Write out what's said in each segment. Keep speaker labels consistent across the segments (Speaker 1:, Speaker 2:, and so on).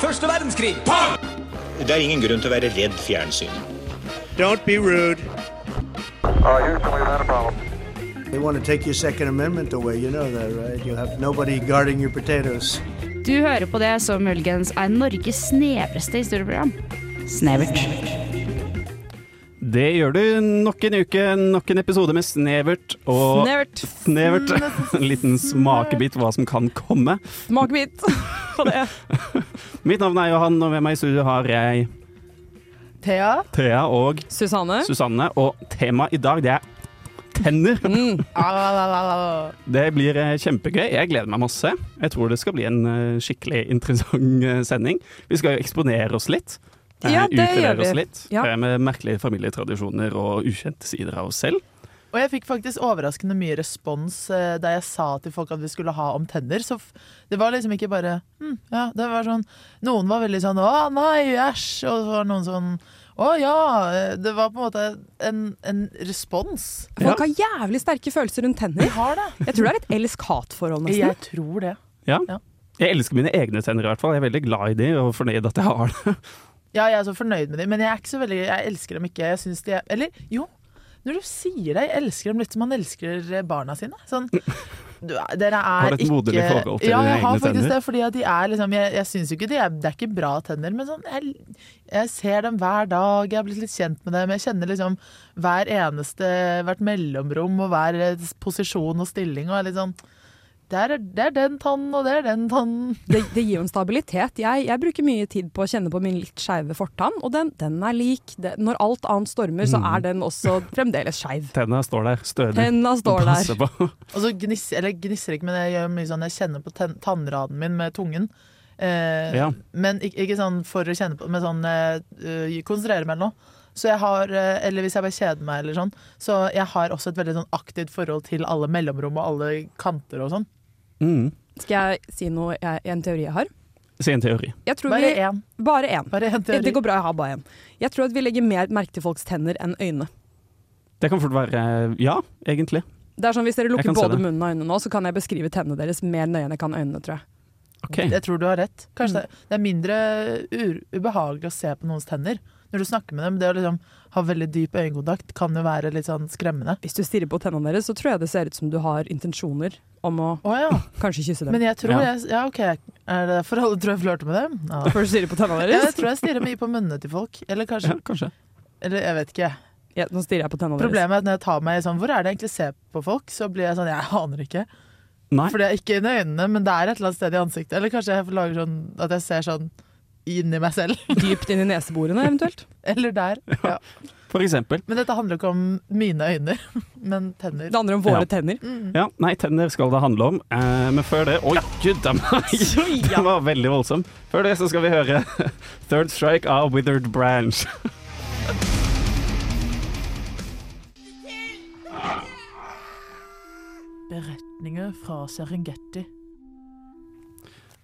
Speaker 1: Første verdenskrig.
Speaker 2: Det er ingen grunn til å være redd fjernsyn.
Speaker 3: Don't be rude.
Speaker 4: Uh, Houston, we've had a problem.
Speaker 5: They want to take your Second Amendment away. You know that, right? You'll have nobody guarding your potatoes.
Speaker 6: Du hører på det som muligens er Norges snevreste historieprogram. Snevert.
Speaker 7: Det gjør du nok en uke, nok en episode med snevert og
Speaker 8: Snevert. Mm.
Speaker 7: Snevert. En liten smakebit hva som kan komme.
Speaker 8: Smakebit på det.
Speaker 7: Mitt navn er Johan, og med meg i studio har jeg
Speaker 8: Thea.
Speaker 7: Thea og
Speaker 8: Susanne.
Speaker 7: Susanne. Og temaet i dag, det er tenner.
Speaker 8: Mm. Ah, la, la, la, la.
Speaker 7: Det blir eh, kjempegøy. Jeg gleder meg masse. Jeg tror det skal bli en eh, skikkelig interessant eh, sending. Vi skal jo eksponere oss litt. eh,
Speaker 8: Ja, det
Speaker 7: utlevere
Speaker 8: gjør vi.
Speaker 7: Oss litt,
Speaker 8: Ja.
Speaker 7: eh, Med merkelige familietradisjoner og ukjente sider av oss selv.
Speaker 9: Og jeg fikk faktisk overraskende mye respons eh, da jeg sa til folk at vi skulle ha om tenner. Så f- det var liksom ikke bare hm, ja, det var sånn, Noen var veldig sånn 'Å nei, æsj', og så var det noen sånn 'Å ja'. eh, Det var på en måte en, en respons.
Speaker 8: Folk har jævlig sterke følelser rundt
Speaker 9: Vi
Speaker 8: tenner.
Speaker 9: har det.
Speaker 8: Jeg tror det er et elsk-hat-forhold, nesten.
Speaker 9: Jeg tror det.
Speaker 7: Ja.
Speaker 9: Ja.
Speaker 7: Jeg elsker mine egne tenner i hvert fall. Jeg er veldig glad i de og fornøyd at jeg har det.
Speaker 9: Ja, jeg er så fornøyd med dem, men jeg er ikke så veldig Jeg elsker dem ikke. Jeg syns de er Eller jo, når du sier det, jeg elsker dem litt som man elsker barna sine. Sånn du, er- dere er
Speaker 7: Har du et
Speaker 9: ikke-
Speaker 7: moderlig forhold til
Speaker 9: ja,
Speaker 7: dine
Speaker 9: jeg har
Speaker 7: egne
Speaker 9: faktisk
Speaker 7: tenner?
Speaker 9: Det, fordi at de er liksom, jeg jeg syns jo ikke de er Det er ikke bra tenner, men sånn jeg, jeg ser dem hver dag. Jeg har blitt litt kjent med dem. Jeg kjenner liksom hver eneste Hvert mellomrom og hver eh, posisjon og stilling og er litt sånn der er, det er den tannen, og det er den tannen.
Speaker 8: Det, det gir jo en stabilitet. Jeg, jeg bruker mye tid på å kjenne på min litt skeive fortann, og den, den er lik. Det, når alt annet stormer, så
Speaker 7: Mm.
Speaker 8: er den også fremdeles skeiv.
Speaker 7: Tennene står der stødig.
Speaker 8: Tenna står der.
Speaker 7: Mm. Passer på.
Speaker 9: Og så gnisser, Altså, eller gnisser ikke, men jeg gjør mye sånn Jeg kjenner på ten, tannraden min med tungen. Eh,
Speaker 7: Ja.
Speaker 9: Men ikke, ikke sånn for å kjenne på Men sånn eh, øh, konsentrere meg eller noe. Så jeg har, eh, eller hvis jeg bare kjeder meg eller sånn, så jeg har også et veldig sånn aktivt forhold til alle mellomrom og alle kanter og sånn.
Speaker 7: Mm.
Speaker 8: Skal jeg si noe, jeg, en teori jeg har?
Speaker 7: Si en teori.
Speaker 8: Jeg tror
Speaker 9: Bare
Speaker 8: vi,
Speaker 9: én.
Speaker 8: Bare én.
Speaker 9: Bare én
Speaker 8: Det
Speaker 9: teori.
Speaker 8: går bra, jeg har bare én. Jeg tror at vi legger mer merke til folks tenner enn øyne.
Speaker 7: Det kan fort være eh, Ja, egentlig.
Speaker 8: Det er sånn, Hvis dere
Speaker 7: Jeg
Speaker 8: lukker
Speaker 7: kan se
Speaker 8: både
Speaker 7: det.
Speaker 8: munnen og øynene nå, så kan jeg beskrive tennene deres mer nøye enn jeg kan øynene, tror jeg.
Speaker 7: OK.
Speaker 9: Jeg tror du har rett. Kanskje det, det er mindre u- ubehagelig å se på noens tenner når du snakker med dem. Det å liksom ha veldig dyp øyekontakt kan jo være litt sånn skremmende.
Speaker 8: Hvis du stirrer på tennene deres, så tror jeg det ser ut som du har intensjoner om å
Speaker 9: Å ja.
Speaker 8: kanskje kysse dem.
Speaker 9: Men jeg tror
Speaker 7: Ja.
Speaker 9: jeg Ja, OK. Er det derfor alle tror jeg flørter med dem? Ja.
Speaker 8: Før du stirrer på tennene
Speaker 9: Ja, Jeg
Speaker 8: deres?
Speaker 9: tror jeg stirrer mye på munnene til folk. Eller
Speaker 7: Ja,
Speaker 9: kanskje
Speaker 7: kanskje.
Speaker 9: Eller jeg vet ikke.
Speaker 8: Ja, nå stirrer jeg på tennene deres.
Speaker 9: Problemet er at når jeg tar meg i sånn Hvor er det jeg egentlig ser på folk? Så blir jeg sånn Jeg aner ikke.
Speaker 7: Nei.
Speaker 9: For det er ikke inni øynene, men det er et eller annet sted i ansiktet. Eller kanskje jeg lager sånn at jeg ser sånn inni meg selv.
Speaker 8: Dypt inn i neseborene, eventuelt.
Speaker 9: Eller der. Ja.
Speaker 7: For eksempel.
Speaker 9: Men dette handler ikke om mine øyne, men tenner. Mm.
Speaker 8: Det handler om våre
Speaker 7: Ja.
Speaker 8: tenner.
Speaker 7: Ja, nei, tenner skal det handle om. Eh, men før det Oi, gud a meg! Den var veldig voldsom. Før det så skal vi høre Third Strike av Withered Branch.
Speaker 9: Beretninger fra Serengeti.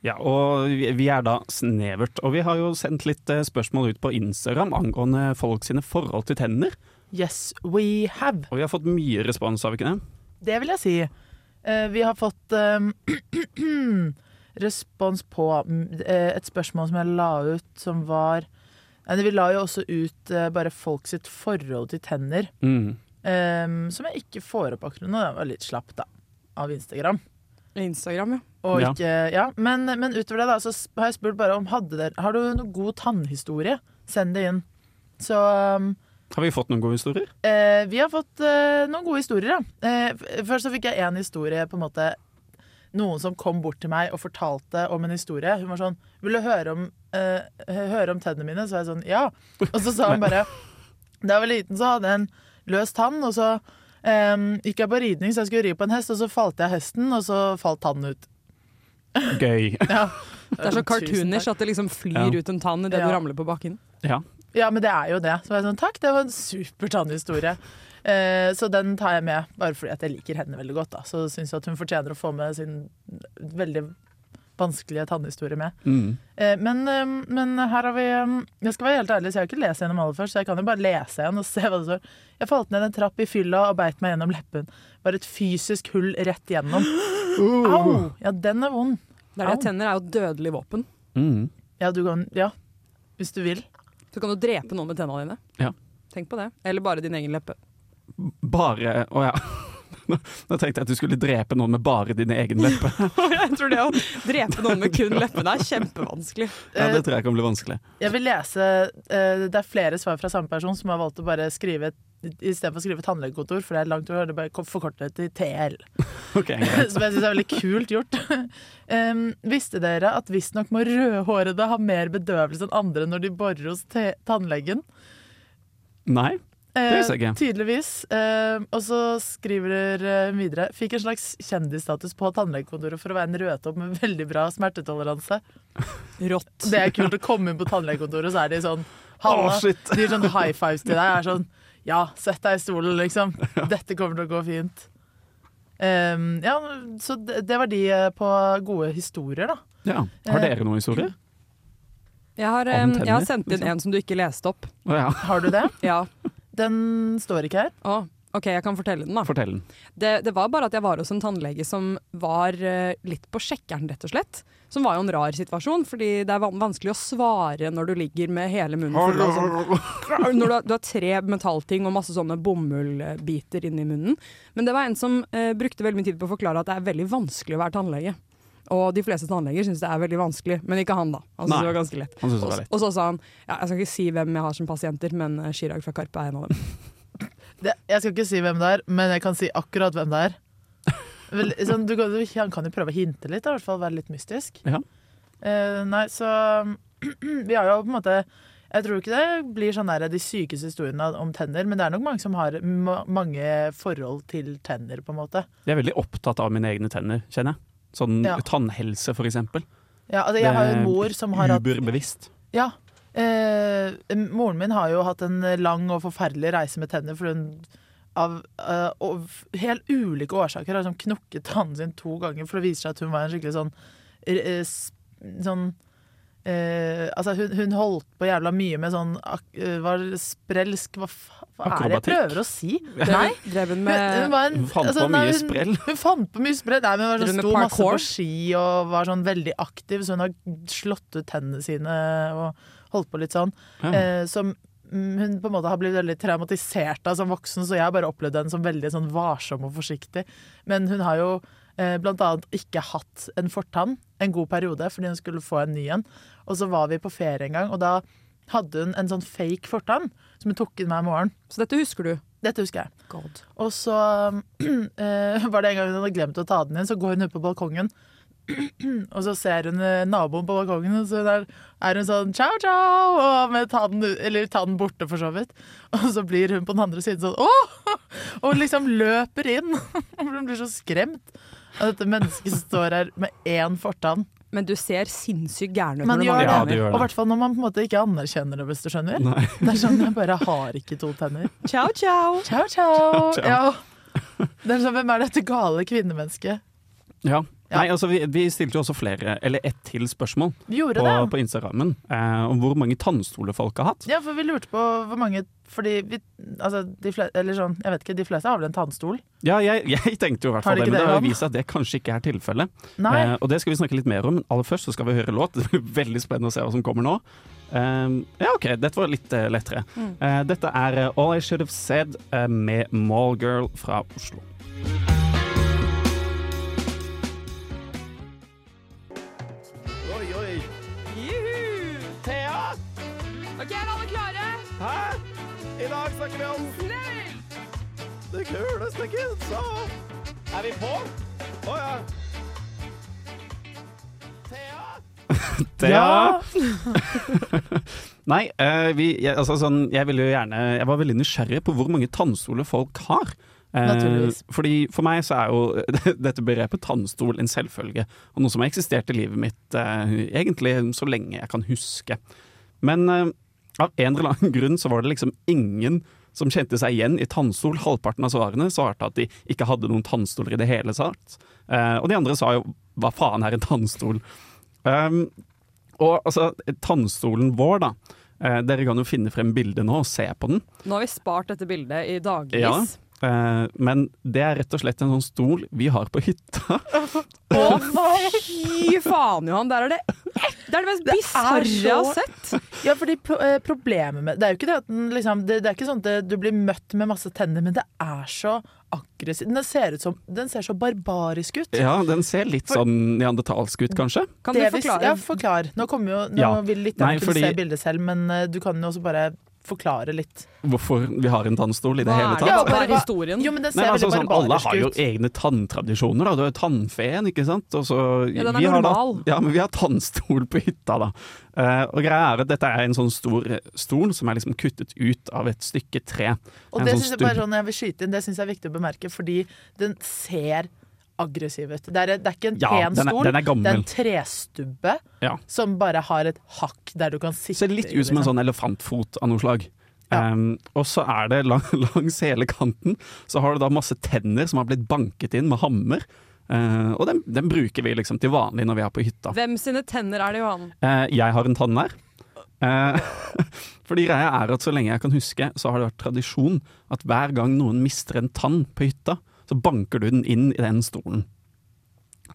Speaker 7: Ja, og vi vi er da snevert. Og vi har jo sendt litt eh, spørsmål ut på Instagram angående folk sine forhold til tenner.
Speaker 9: Yes, we have.
Speaker 7: Og vi har fått mye respons, har vi ikke det?
Speaker 9: Det vil jeg si. Eh, vi har fått eh, respons på mm, eh, et spørsmål som jeg la ut, som var Nei, Vi la jo også ut eh, bare folk sitt forhold til tenner,
Speaker 7: Mm.
Speaker 9: eh, som jeg ikke får opp akkurat nå. Jeg var litt slapp, da, av Instagram.
Speaker 8: Instagram, ja.
Speaker 9: Og
Speaker 7: Ja.
Speaker 9: ikke, ja. Men, men utover det da, så sp- har jeg spurt bare om hadde dere, Har du noen god tannhistorie. Send det inn. Så um,
Speaker 7: Har vi fått noen gode historier?
Speaker 9: Eh, vi har fått eh, noen gode historier. Da. Eh, f- først så fikk jeg en historie på en måte Noen som kom bort til meg og fortalte om en historie. Hun var sånn 'Vil du høre om, eh, hø- høre om tennene mine?' Så var jeg sånn 'Ja'. Og så sa hun bare Da jeg var liten, så hadde jeg en løs tann, og så eh, gikk jeg på ridning, så jeg skulle ri på en hest, og så falt jeg hesten, og så falt tannen ut.
Speaker 7: Gøy.
Speaker 9: Ja.
Speaker 8: Det er så cartoonish
Speaker 9: Tusen takk.
Speaker 8: at det liksom flyr
Speaker 7: Ja.
Speaker 8: ut en tann idet
Speaker 9: Ja.
Speaker 8: du ramler på bakken.
Speaker 7: Ja.
Speaker 9: Ja, men det er jo det. Så var jeg sånn Takk, det var en super tannhistorie. Eh, så den tar jeg med, bare fordi at jeg liker henne veldig godt. Da. Så syns jeg at hun fortjener å få med sin veldig vanskelige tannhistorie med.
Speaker 7: Mm.
Speaker 9: Eh, men, eh, men her har vi eh, Jeg skal være helt ærlig, så jeg har ikke lest gjennom alle først, så jeg kan jo bare lese igjen og se hva det står. Jeg falt ned en trapp i fylla og beit meg gjennom leppen. Var et fysisk
Speaker 7: Uh.
Speaker 9: hull rett gjennom. Au! Ja, den er vond.
Speaker 8: Det er det.
Speaker 9: Au.
Speaker 8: Tenner er jo et dødelig våpen.
Speaker 7: Mm.
Speaker 9: Ja, du kan Ja, hvis du vil.
Speaker 8: Så kan du drepe noen med tennene dine.
Speaker 7: Ja.
Speaker 8: Tenk på det. Eller bare din egen leppe.
Speaker 7: Bare Å ja. Nå nå tenkte jeg at du skulle drepe noen med bare dine egne lepper.
Speaker 8: Jeg tror det å drepe noen med kun leppene er kjempevanskelig.
Speaker 7: Ja,
Speaker 9: Eh,
Speaker 7: det tror jeg kan bli vanskelig.
Speaker 9: Jeg vil lese eh, Det er flere svar fra samme person som har valgt å bare skrive Istedenfor å skrive tannlegekontor, for det er langt over, det bare forkortet til TL.
Speaker 7: Ok, greit.
Speaker 9: Som jeg syns er veldig kult gjort. Em, visste dere at visstnok må rødhårede ha mer bedøvelse enn andre når de borer hos te tannlegen?
Speaker 7: Nei.
Speaker 9: Eh,
Speaker 7: visste jeg ikke.
Speaker 9: tydeligvis. Eh, og så skriver eh, hun videre Fikk en slags kjendisstatus på tannlegekontoret for å være en rødtopp med veldig bra smertetoleranse.
Speaker 8: Rått.
Speaker 9: Det er kult å komme inn på tannlegekontoret, så er de sånn Halla.
Speaker 7: Å, shit.
Speaker 9: de gir sånn high fives til deg. Er sånn Ja, sett deg i stolen, liksom. Dette kommer til å gå fint. Ehm, ja, så det, det var de eh, på gode historier, da.
Speaker 7: Ja.
Speaker 9: Eh.
Speaker 7: Har dere noen historier?
Speaker 8: Jeg har, eh, jeg har
Speaker 7: Antenner,
Speaker 8: sendt inn
Speaker 7: liksom.
Speaker 8: en som du ikke leste opp.
Speaker 7: Å ja.
Speaker 9: Har du det?
Speaker 8: Ja.
Speaker 9: Den står ikke her.
Speaker 8: Å, OK, jeg kan fortelle den, da.
Speaker 7: Fortell den.
Speaker 8: Det, det var bare at jeg var hos en tannlege som var eh, litt på sjekkeren, rett og slett. Som var jo en rar situasjon, fordi det er van- vanskelig å svare når du ligger med hele munnen full av sånn når du har, du har tre metallting og masse sånne bomullbiter inni munnen. Men det var en som eh, brukte veldig mye tid på å forklare at det er veldig vanskelig å være tannlege. Og de fleste tannleger syns det er veldig vanskelig, men ikke han, da.
Speaker 7: Nei.
Speaker 8: Han syntes det var ganske lett.
Speaker 7: Han syntes det
Speaker 8: Og,
Speaker 7: var lett.
Speaker 8: og så sa han ja, jeg skal ikke si hvem jeg har som pasienter, men eh, Chirag fra Karpe er en av dem.
Speaker 9: Det, jeg skal ikke si hvem det er, men jeg kan si akkurat hvem det er. Vel, sånn, du, kan- du- han kan jo prøve å hinte litt, da, i hvert fall være litt mystisk.
Speaker 7: Ja.
Speaker 9: Eh, nei, så Vi har jo på en måte Jeg tror ikke det blir sånn der de sykeste historiene om tenner, men det er nok mange som har ma mange forhold til tenner, på en måte.
Speaker 7: Jeg er veldig opptatt av mine egne tenner, kjenner jeg. Sånn
Speaker 9: Ja.
Speaker 7: tannhelse, for eksempel.
Speaker 9: Ja, altså, jeg har jo en mor som har hatt
Speaker 7: Uberbevisst.
Speaker 9: Ja. Eh, moren min har jo hatt en lang og forferdelig reise med tenner fordi hun av eh, og f- helt ulike årsaker har liksom knokket tannen sin to ganger for det viser seg at hun var en skikkelig sånn eh, s- Sånn eh, Altså, hun, hun holdt på jævla mye med sånn ak eh, var sprelsk Hva, fa hva er det jeg
Speaker 7: Akrobatikk?
Speaker 9: prøver å si? Nei.
Speaker 8: Dreven, dreven
Speaker 9: Hun, hun
Speaker 8: med
Speaker 9: var en,
Speaker 7: Hun fant på
Speaker 9: nei,
Speaker 7: mye
Speaker 9: hun-
Speaker 7: sprell.
Speaker 9: Hun fant på mye sprell. Nei, men hun var
Speaker 8: Drev
Speaker 9: sånn,
Speaker 8: med
Speaker 9: sto masse på
Speaker 8: parkour.
Speaker 9: ski og var sånn veldig aktiv, så hun har slått ut tennene sine og holdt på litt sånn.
Speaker 7: Ja.
Speaker 9: Eh, som mm, hun på en måte har blitt veldig traumatisert av som voksen, så jeg har bare opplevd henne som veldig sånn varsom og forsiktig. Men hun har jo eh, blant annet ikke hatt en fortann en god periode fordi hun skulle få en ny en. Og så var vi på ferie en gang, og da hadde hun en sånn fake fortann som hun tok inn hver morgen.
Speaker 8: Så dette husker du.
Speaker 9: Dette husker jeg.
Speaker 8: God.
Speaker 9: Og så eh, var det en gang hun hadde glemt å ta den inn, så går hun ut på balkongen. og så ser hun eh, naboen på balkongen, og så der er hun sånn ciao, ciao, og med tannen, u- eller tannen borte for så vidt. Og så blir hun på den andre siden sånn åh! Og liksom løper inn. For hun blir så skremt. Og dette mennesket står her med én fortann.
Speaker 8: Men du ser sinnssykt gæren ut
Speaker 9: Men
Speaker 8: når du
Speaker 9: gjør
Speaker 8: mangler
Speaker 9: det.
Speaker 7: Ja,
Speaker 8: tenner.
Speaker 7: du gjør
Speaker 9: Og i
Speaker 7: det.
Speaker 9: hvert fall når man på en måte ikke anerkjenner det, hvis du skjønner. Det er sånn, jeg bare har ikke to tenner.
Speaker 8: Ciao, ciao.
Speaker 9: Ciao, ciao.
Speaker 7: ciao.
Speaker 9: Ja. Det er sånn, hvem er dette gale kvinnemennesket?
Speaker 7: Ja.
Speaker 9: Ja.
Speaker 7: Nei, altså, vi, vi stilte jo også flere, eller ett til spørsmål
Speaker 9: Vi gjorde
Speaker 7: på,
Speaker 9: det.
Speaker 7: på Instagrammen eh, om hvor mange tannstoler folk har hatt.
Speaker 9: Ja, for vi lurte på hvor mange Fordi vi Altså, de fleste Eller sånn, jeg vet ikke, de fleste har vel en tannstol?
Speaker 7: Ja, jeg, jeg tenkte jo i hvert fall
Speaker 9: Har
Speaker 7: det,
Speaker 9: de ikke
Speaker 7: men det
Speaker 9: det,
Speaker 7: har
Speaker 9: Jan?
Speaker 7: jo vist seg at det kanskje ikke er tilfellet.
Speaker 9: Nei.
Speaker 7: Eh, og det skal vi snakke litt mer om, men aller først så skal vi høre låt. Det blir veldig spennende å se hva som kommer nå. Eh, ja, OK, dette var litt eh, lettere.
Speaker 9: Mm.
Speaker 7: Eh, dette er eh, All I Should Have Said eh, med Mallgirl fra Oslo.
Speaker 8: Ok, er alle klare?
Speaker 7: I dag snakker vi om det kuleste kidsa. Er vi på? Å ja. Thea?
Speaker 9: Ja.
Speaker 7: Nei, eh, vi, jeg, altså, sånn, jeg ville jo gjerne Jeg var veldig nysgjerrig på hvor mange tannstoler folk har. Eh,
Speaker 9: Naturligvis.
Speaker 7: fordi For meg så er jo dette begrepet tannstol en selvfølge, og noe som har eksistert i livet mitt eh, egentlig så lenge jeg kan huske. Men eh, av en eller annen grunn så var det liksom ingen som kjente seg igjen i tannstol. Halvparten av svarene svarte at de ikke hadde noen tannstoler i det hele tatt. Eh, og de andre sa jo 'hva faen er en tannstol'? Um, og altså, tannstolen vår, da. Eh, dere kan jo finne frem bildet nå og se på den.
Speaker 8: Nå har vi spart dette bildet i
Speaker 7: Ja.
Speaker 8: dagvis.
Speaker 7: Eh, men det er rett og slett en sånn stol vi har på hytta.
Speaker 8: Å, fy faen, Johan! Der er det Det er det mest
Speaker 9: Det er
Speaker 8: bisarre jeg har
Speaker 9: så-
Speaker 8: sett.
Speaker 9: Ja, fordi pro eh, problemet med Det er jo ikke det at den liksom det, det er ikke sånn at det- du blir møtt med masse tenner, men det er så aggressivt. Den ser ut som Den ser så barbarisk ut.
Speaker 7: Ja, den ser litt
Speaker 9: For-
Speaker 7: sånn neandertalsk ut, kanskje.
Speaker 8: Kan du
Speaker 9: Det vi-
Speaker 8: forklare?
Speaker 9: Ja, forklar. Nå, kommer jo, nå
Speaker 7: Ja.
Speaker 9: vil litt
Speaker 7: Nei,
Speaker 9: kunne
Speaker 7: fordi-
Speaker 9: se bildet selv, men eh, du kan jo også bare forklare litt.
Speaker 7: Hvorfor vi har en tannstol i det
Speaker 8: Hva
Speaker 7: hele
Speaker 8: er det?
Speaker 7: tatt.
Speaker 9: Ja,
Speaker 8: Hva
Speaker 9: bare-
Speaker 8: er historien?
Speaker 9: Jo, men den ser
Speaker 7: Nei, men altså,
Speaker 9: veldig
Speaker 7: sånn, alle
Speaker 9: barbarisk
Speaker 7: har jo
Speaker 9: ut.
Speaker 7: egne tanntradisjoner. Da. Du har jo tannfeen, ikke sant. Og så,
Speaker 8: Ja, den er
Speaker 7: vi har da,
Speaker 8: normal.
Speaker 7: ja, men vi har tannstol på hytta, da. Eh, og greia er at dette er en sånn stor stol som er liksom kuttet ut av et stykke tre.
Speaker 9: Og
Speaker 7: en
Speaker 9: det
Speaker 7: sånn
Speaker 9: synes jeg bare
Speaker 7: stubb.
Speaker 9: sånn jeg vil skyte inn, det synes jeg er viktig å bemerke, fordi den ser aggressiv ut. Det er, det er ikke en
Speaker 7: Ja,
Speaker 9: pen
Speaker 7: den er-
Speaker 9: stol,
Speaker 7: den er
Speaker 9: det er en
Speaker 7: gammel.
Speaker 9: trestubbe
Speaker 7: Ja.
Speaker 9: som bare har et hakk der du kan sitte.
Speaker 7: Ser litt
Speaker 9: i,
Speaker 7: ut som en
Speaker 9: liksom.
Speaker 7: sånn elefantfot av noe slag.
Speaker 9: Ja.
Speaker 7: Ehm, og så er det lang, langs hele kanten Så har du da masse tenner som har blitt banket inn med hammer. Eh, og den, den bruker vi liksom til vanlig når vi er på hytta.
Speaker 8: Hvem sine tenner er det, Johan?
Speaker 7: Eh, jeg har en tann der. Eh, fordi greia er at så lenge jeg kan huske, så har det vært tradisjon at hver gang noen mister en tann på hytta, så banker du den inn i den stolen.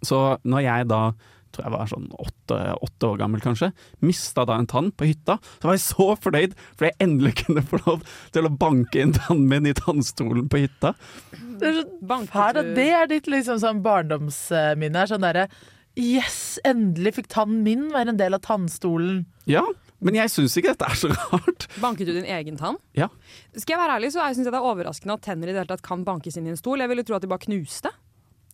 Speaker 7: Så når jeg da tror jeg var sånn åtte, åtte år gammel kanskje, mista da en tann på hytta, så var jeg så fornøyd fordi jeg endelig kunne få lov til å banke inn tannen min i tannstolen på hytta. sånn-
Speaker 9: Det er så
Speaker 8: Banket
Speaker 9: Her, da,
Speaker 8: du-
Speaker 9: det er ditt liksom sånn barndomsminne. er Sånn derre Yes, endelig fikk tannen min være en del av tannstolen.
Speaker 7: Ja, men jeg syns ikke dette er så rart.
Speaker 8: Banket du din egen tann?
Speaker 7: Ja.
Speaker 8: Skal jeg være ærlig, så syns jeg det er overraskende at tenner i det hele tatt kan bankes inn i en stol. Jeg ville tro at de bare knuste.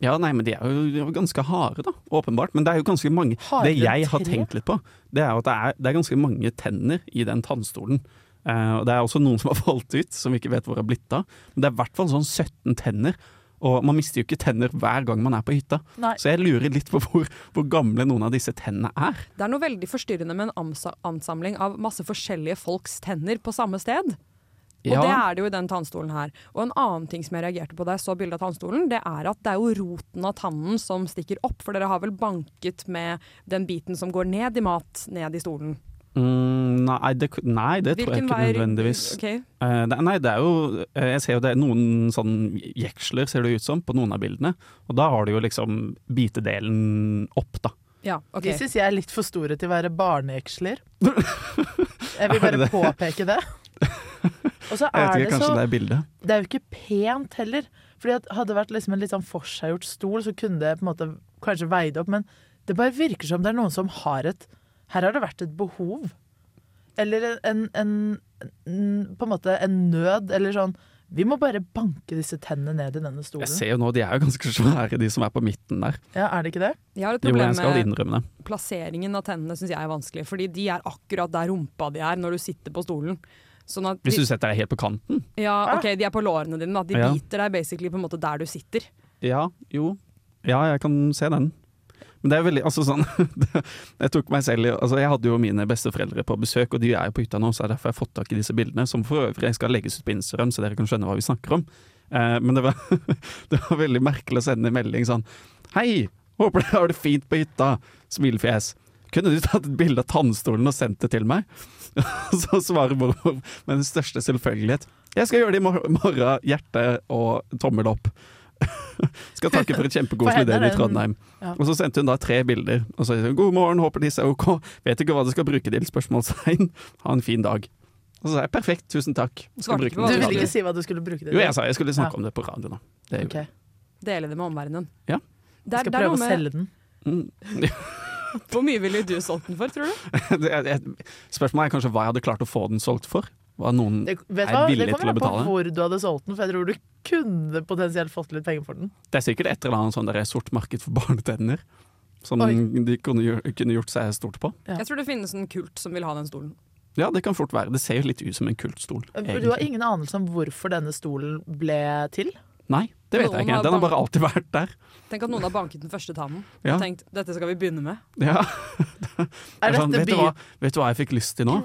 Speaker 7: Ja, nei, men de er jo de er jo ganske harde, da, åpenbart. Men det er jo ganske mange
Speaker 9: Harde
Speaker 7: Det jeg har
Speaker 9: tre?
Speaker 7: tenkt litt på, det er jo at det er, det er ganske mange tenner i den tannstolen. Eh, og det er også noen som har falt ut, som vi ikke vet hvor har blitt av. Men det er i hvert fall sånn 17 tenner. Og man mister jo ikke tenner hver gang man er på hytta.
Speaker 9: Nei.
Speaker 7: Så jeg lurer litt på hvor, hvor gamle noen av disse tennene er.
Speaker 8: Det er noe veldig forstyrrende med en amsa- ansamling av masse forskjellige folks tenner på samme sted. Og det er det jo i den tannstolen her. Og en annen ting som jeg reagerte på da jeg så bildet av tannstolen, det er at det er jo roten av tannen som stikker opp, for dere har vel banket med den biten som går ned i mat, ned i stolen.
Speaker 7: mm, nei, det, nei, det tror jeg ikke nødvendigvis.
Speaker 8: Ok.
Speaker 7: Eh, det, nei, det er jo eh, Jeg ser jo det er noen sånn jeksler, ser det ut som, på noen av bildene. Og da har du jo liksom bitedelen opp, da.
Speaker 8: Ja, ok.
Speaker 9: De syns jeg er litt for store til å være barnejeksler. Jeg vil bare påpeke det. Og så
Speaker 7: Jeg
Speaker 9: er
Speaker 7: vet
Speaker 9: det
Speaker 7: ikke, kanskje
Speaker 9: så
Speaker 7: det er bildet.
Speaker 9: Det er jo ikke pent heller. Fordi at Hadde det vært liksom en litt sånn forseggjort stol, så kunne det på en måte kanskje veid opp, men det bare virker som det er noen som har et Her har det vært et behov. Eller en, en, en På en måte en nød, eller sånn Vi må bare banke disse tennene ned i denne
Speaker 7: Jeg
Speaker 9: stolen.
Speaker 7: ser jo nå, de er jo ganske svære, de som er på midten der.
Speaker 9: Ja, Er det ikke det?
Speaker 8: Jeg har et
Speaker 7: Jo, jeg
Speaker 8: problem
Speaker 7: skal
Speaker 8: med
Speaker 7: innrømme det.
Speaker 8: plasseringen av tennene syns jeg er vanskelig, fordi de er akkurat der rumpa di er når du sitter på stolen. Sånn at
Speaker 7: Hvis
Speaker 8: de,
Speaker 7: du setter deg helt på kanten.
Speaker 8: ja, ok, de er på lårene dine, da. De
Speaker 7: Ja.
Speaker 8: biter deg basically på en måte der du sitter.
Speaker 7: Ja, jo. Ja, jeg kan se den. Men det er veldig, altså sånn Jeg tok meg selv i altså Jeg hadde jo mine besteforeldre på besøk, og de er jo på hytta nå, så det er derfor jeg har fått tak i disse bildene, som for øvrig skal legges ut på Instagram, så dere kan skjønne hva vi snakker om. Eh, men det var, det var veldig merkelig å sende en melding sånn Hei, håper dere har det fint på hytta! Smilefjes. Kunne du tatt et bilde av tannstolen og sendt det til meg? Og så svarer mormor med den største selvfølgelighet. Jeg skal gjøre det i mor- morgen. Hjerte og tommel opp. Skal takke for et
Speaker 9: For
Speaker 7: kjempekoselig
Speaker 9: henne er
Speaker 7: del i
Speaker 9: det en-
Speaker 7: Trondheim.
Speaker 9: Ja.
Speaker 7: Og så sendte hun da tre bilder. Og så sa hun god morgen, håper disse er ok. Vet ikke hva du skal bruke til? Spørsmålstegn. Ha en fin dag. Og så sa jeg perfekt, tusen takk. Skal
Speaker 8: Svarte
Speaker 7: bruke
Speaker 8: ikke
Speaker 7: den
Speaker 8: på
Speaker 9: Du
Speaker 8: hva
Speaker 7: til
Speaker 9: ville
Speaker 7: radio.
Speaker 9: ikke si hva du skulle bruke det
Speaker 7: Jo, jeg sa jeg skulle snakke
Speaker 9: Ja.
Speaker 7: om det på radio nå. Det gjorde jeg.
Speaker 9: Ok.
Speaker 8: Dele det med omverdenen.
Speaker 7: Ja.
Speaker 8: Det
Speaker 9: Jeg
Speaker 8: er,
Speaker 9: skal
Speaker 8: det er
Speaker 9: prøve
Speaker 8: noe
Speaker 9: å
Speaker 8: med,
Speaker 9: selge den.
Speaker 7: Mm.
Speaker 8: hvor mye ville du solgt den for, tror du?
Speaker 7: Det er- det- Spørsmålet er kanskje hva jeg hadde klart å få den solgt for. Hva noen
Speaker 9: Det, vet
Speaker 7: er
Speaker 9: du hva?
Speaker 7: villig
Speaker 9: det
Speaker 7: til å
Speaker 9: kommer an på
Speaker 7: betale.
Speaker 9: hvor du hadde solgt den, for jeg tror du kunne potensielt fått litt penger for den.
Speaker 7: Det er sikkert et eller annet sånn der sort marked for barnetenner. Som
Speaker 9: Oi.
Speaker 7: de kunne, gjør- kunne gjort seg stort på.
Speaker 9: Ja.
Speaker 8: Jeg tror det finnes en kult som vil ha den stolen.
Speaker 7: Ja, det kan fort være. Det ser jo litt ut som en kultstol.
Speaker 9: Du har
Speaker 7: egentlig.
Speaker 9: ingen anelse om hvorfor denne stolen ble til?
Speaker 7: Nei, det vet
Speaker 8: Noen
Speaker 7: jeg
Speaker 8: har
Speaker 7: ikke. Den har
Speaker 8: bank-
Speaker 7: bare alltid vært der.
Speaker 8: Tenk at noen har banket den første tannen
Speaker 7: Ja.
Speaker 8: og tenkt dette skal vi begynne med.
Speaker 7: Ja.
Speaker 9: Er
Speaker 7: Det er sånn,
Speaker 9: dette Mm.
Speaker 7: vet, du
Speaker 9: by...
Speaker 7: hva, vet du hva jeg fikk lyst til nå?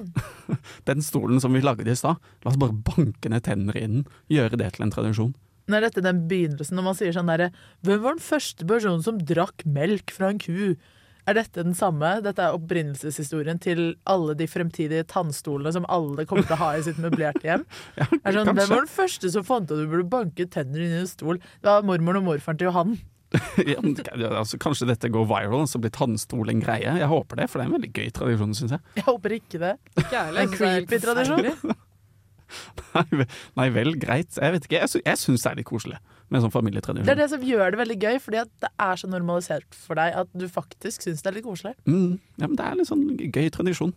Speaker 7: Den stolen som vi lagde i stad. La oss bare banke ned tenner i den. Gjøre det til en tradisjon.
Speaker 9: Nå er dette den begynnelsen når man sier sånn derre Hvem var den første personen som drakk melk fra en ku? Er dette den samme? Dette er opprinnelseshistorien til alle de fremtidige tannstolene som alle kommer til å ha i sitt møblerte hjem. Er
Speaker 7: kanskje.
Speaker 9: sånn, Hvem var den første som fant ut at du burde banke tenner inn i en stol? Det var mormoren og morfaren til Johan.
Speaker 7: Ja, men, altså, kanskje dette går viral, så blir tannstol en greie. Jeg håper det, for det er en veldig gøy tradisjon, syns jeg.
Speaker 9: Jeg håper ikke det.
Speaker 8: Ikke jeg heller.
Speaker 9: En creepy tradisjon.
Speaker 7: Nei, ve- Nei vel, greit. Jeg vet ikke. Jeg, sy jeg syns det er litt koselig med en sånn familietradisjon.
Speaker 9: Det er det som gjør det veldig gøy, fordi at det er så normalisert for deg at du faktisk syns det er litt koselig.
Speaker 7: Mm, ja, men det er litt sånn gøy tradisjon.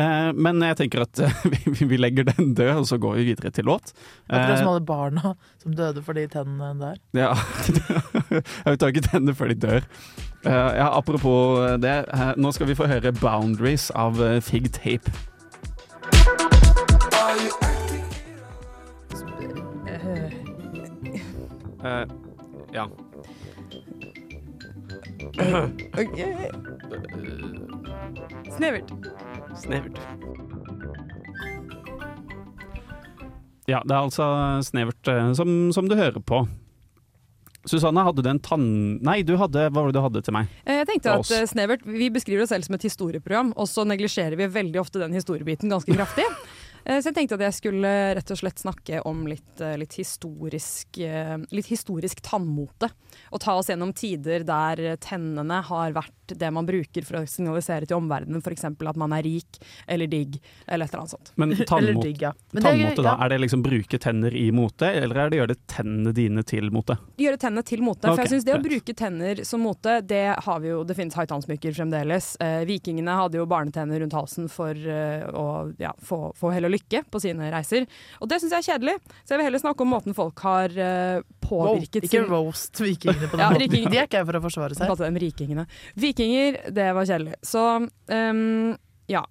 Speaker 7: Eh, men jeg tenker at eh, vi, vi legger den død, og så går vi videre til låt.
Speaker 9: Akkurat
Speaker 7: Eh,
Speaker 9: som alle barna som døde for de tennene der.
Speaker 7: ja. jeg tar ikke tennene før de dør. Eh, ja, apropos det, eh, nå skal vi få høre 'Boundaries' av eh, Fig Tape. Eh, ja.
Speaker 8: Snevert.
Speaker 7: Snevert. Ja, det er altså snevert eh, som, som du hører på. Susanne, hadde du en tann... Nei, du hadde, hva var det du hadde til meg?
Speaker 8: Eh, Jeg tenkte
Speaker 7: Og
Speaker 8: at
Speaker 7: oss.
Speaker 8: eh, Snevert, Vi beskriver oss selv som et historieprogram, og så neglisjerer vi veldig ofte den historiebiten ganske kraftig. Eh, Så jeg tenkte at jeg skulle rett og slett snakke om litt, eh, litt, historisk, eh, litt historisk tannmote. Og ta oss gjennom tider der eh, tennene har vært det man bruker for å signalisere til omverdenen f.eks. at man er rik eller digg eller et eller annet sånt.
Speaker 7: Men
Speaker 9: Eller
Speaker 7: tannmote,
Speaker 9: digg, ja. Men det er
Speaker 7: tannmote
Speaker 9: gøy,
Speaker 7: da,
Speaker 9: ja.
Speaker 7: er det liksom bruke tenner i mote, eller er det gjøre det tennene dine til mote?
Speaker 8: gjøre tennene til mote. For
Speaker 7: Ok,
Speaker 8: jeg synes Det å
Speaker 7: greit.
Speaker 8: bruke tenner som mote, det har vi jo, det finnes haitannsmykker fremdeles. Eh, vikingene hadde jo barnetenner rundt halsen for eh, å ja, få, få hell og lykke på sine reiser. Og det syns jeg er kjedelig, så jeg vil heller snakke om måten folk har eh,
Speaker 9: Wow,
Speaker 8: påvirket
Speaker 9: ikke roast vikingene på den
Speaker 8: Ja,
Speaker 9: måten.
Speaker 8: viking-
Speaker 9: De er ikke her for å forsvare seg.
Speaker 8: Kalte dem rikingene. Vikinger, det var kjedelig. Så ehm, ja.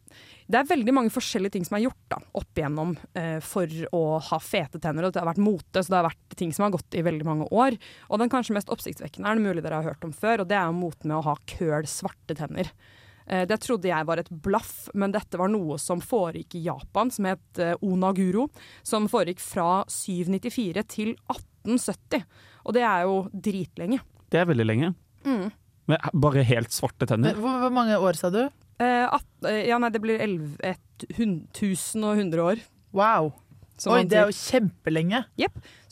Speaker 8: Det er veldig mange forskjellige ting som er gjort da, opp igjennom eh, for å ha fete tenner. Og det har vært mote, så det har vært ting som har gått i veldig mange år. Og den kanskje mest oppsiktsvekkende er det mulig dere har hørt om før, og det er jo moten med å ha køl svarte tenner. Eh, Det trodde jeg var et blaff, men dette var noe som foregikk i Japan, som het eh, Onaguro. Som foregikk fra 794 til 1870. Og det er jo dritlenge.
Speaker 7: Det er veldig lenge.
Speaker 8: Mm.
Speaker 7: Men bare helt svarte
Speaker 9: Men
Speaker 7: tenner?
Speaker 9: Hvor, hvor mange år sa du?
Speaker 8: Eh, at, eh, ja, nei, det blir 11, et, hun, 1000 og 100 år.
Speaker 9: Wow.
Speaker 8: som
Speaker 9: Oi,
Speaker 8: man
Speaker 9: det er
Speaker 8: sier.
Speaker 9: jo kjempelenge.